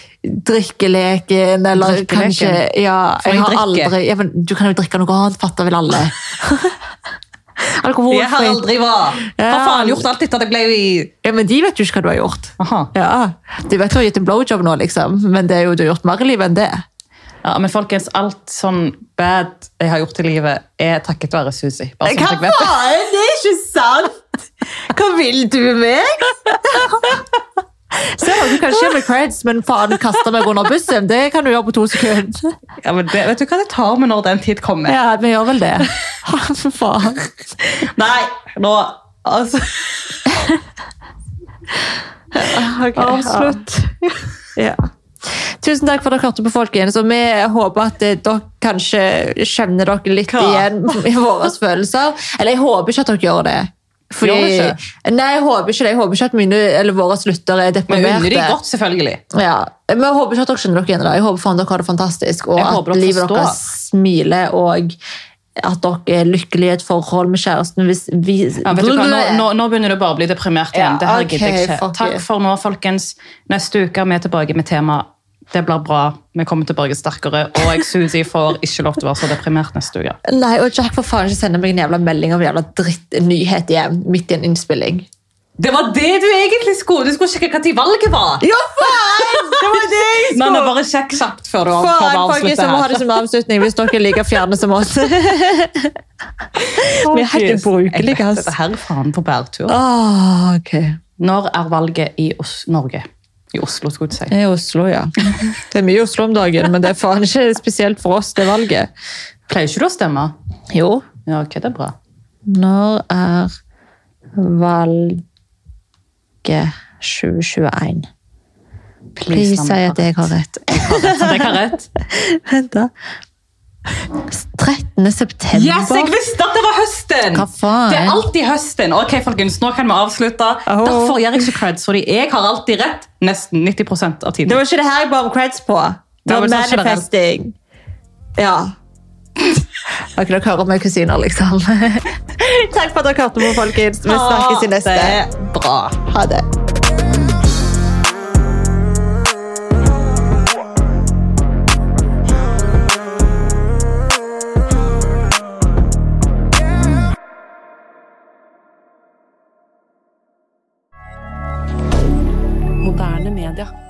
Speaker 1: drikkeleken, eller
Speaker 2: Drikkeleken?
Speaker 1: kanskje... Ja,
Speaker 2: For
Speaker 1: jeg
Speaker 2: jeg
Speaker 1: har
Speaker 2: drikker.
Speaker 1: *laughs* aldri... Ja, men du kan jo drikke noe annet, fatter vel alle. Alkoholfri.
Speaker 3: Jeg har aldri vært. Har
Speaker 1: Ja.
Speaker 3: faen gjort alt etter at jeg ble i
Speaker 1: Ja, men de vet jo ikke hva du har gjort.
Speaker 2: Aha.
Speaker 1: Ja, Du vet du har gitt en blowjob nå, liksom, men det er jo du har gjort mer i livet enn det.
Speaker 2: Ja, men folkens, alt sånn bad jeg har gjort i livet, er takket være Susi. Bare sånn at dere vet det.
Speaker 3: faen? Det er ikke sant! Hva vil du med meg?
Speaker 1: Se, du kan ikke med creds, men faen, kaste meg under bussen, det kan du gjøre på to sekunder.
Speaker 2: Ja, men det, vet du hva det tar med når den tid kommer?
Speaker 1: Ja, vi gjør vel det. For faen.
Speaker 2: Nei, nå altså,
Speaker 1: Avslutt. Ja. Tusen takk for at dere hørte på, folkens. Og vi håper at eh, dere kanskje kjenner dere litt
Speaker 2: Hva?
Speaker 1: igjen i våre følelser. Eller jeg håper ikke at dere gjør det. Fordi,
Speaker 2: Gjør dere
Speaker 1: Nei, jeg håper ikke det. Jeg håper ikke at mine, eller våre lyttere er
Speaker 2: Vi
Speaker 1: deprimerte.
Speaker 2: unner de godt, selvfølgelig.
Speaker 1: Ja, men jeg håper ikke at dere skjønner dere igjen i det. Jeg håper faen dere har det fantastisk, og
Speaker 2: Jeg håper
Speaker 1: at
Speaker 2: dere
Speaker 1: livet
Speaker 2: forstår.
Speaker 1: deres smiler, og at dere er lykkelige i et forhold med kjæresten hvis vi
Speaker 2: Ja, vet du hva? Nå, nå, nå begynner du bare å bli deprimert
Speaker 1: Ja,
Speaker 2: igjen. det her
Speaker 1: ok,
Speaker 2: gidder jeg ikke.
Speaker 1: fuck
Speaker 2: Takk
Speaker 1: it.
Speaker 2: for nå, folkens. Neste uke er vi tilbake med tema. Det blir bra. Vi kommer tilbake sterkere. Og jeg, Susi, får ikke lov til å være så deprimert neste uke.
Speaker 1: Nei, og Jack får faen ikke sende meg en jævla melding om en jævla drittnyhet igjen midt i en innspilling.
Speaker 3: Det var det du egentlig skulle. Du skulle sjekke hva valget var.
Speaker 1: Ja, faen! Det var det jeg
Speaker 2: Men det er bare sjekk kjapt før du
Speaker 1: Faen,
Speaker 2: før vi
Speaker 1: folkens,
Speaker 2: avslutter
Speaker 1: jeg må ha
Speaker 2: her.
Speaker 1: det som avslutning hvis dere er like fjerne som
Speaker 2: *laughs*
Speaker 1: oss. Vi er helt
Speaker 2: Jeg
Speaker 1: ubrukelige,
Speaker 2: vet
Speaker 1: ass.
Speaker 2: dette her faen på bærtur.
Speaker 1: Åh, Ah, ok.
Speaker 2: Når er valget i Os Norge? I Oslo, skulle jeg si.
Speaker 1: Det er Oslo,
Speaker 2: *laughs*
Speaker 1: ja. Det er mye Oslo om dagen, men det er faen ikke spesielt for oss, det valget.
Speaker 2: Pleier ikke du å stemme?
Speaker 1: Jo.
Speaker 2: Ja, ok, det er bra.
Speaker 1: Når er valget 2021? Please si at jeg har rett.
Speaker 2: Jeg har rett.
Speaker 1: *laughs* Vent, da. 13. september?
Speaker 2: Yes, jeg visste at det var høsten!
Speaker 1: Hva faen?
Speaker 2: Det er alltid høsten. Ok, folkens, nå kan vi avslutte.
Speaker 1: Oh.
Speaker 2: Derfor gjør jeg ikke creds, fordi jeg har alltid rett nesten 90 av
Speaker 1: Det
Speaker 2: tiden.
Speaker 1: var ikke det her jeg ba om creds på. Det
Speaker 2: Nei,
Speaker 1: var
Speaker 2: men sånn
Speaker 1: manifesting. Ja. *laughs* Ok, dere hører meg kusiner, liksom. *laughs* Takk for at dere hørte på, folkens. Vi snakkes i neste.
Speaker 2: Bra.
Speaker 1: Ha det.
Speaker 4: Moderne media.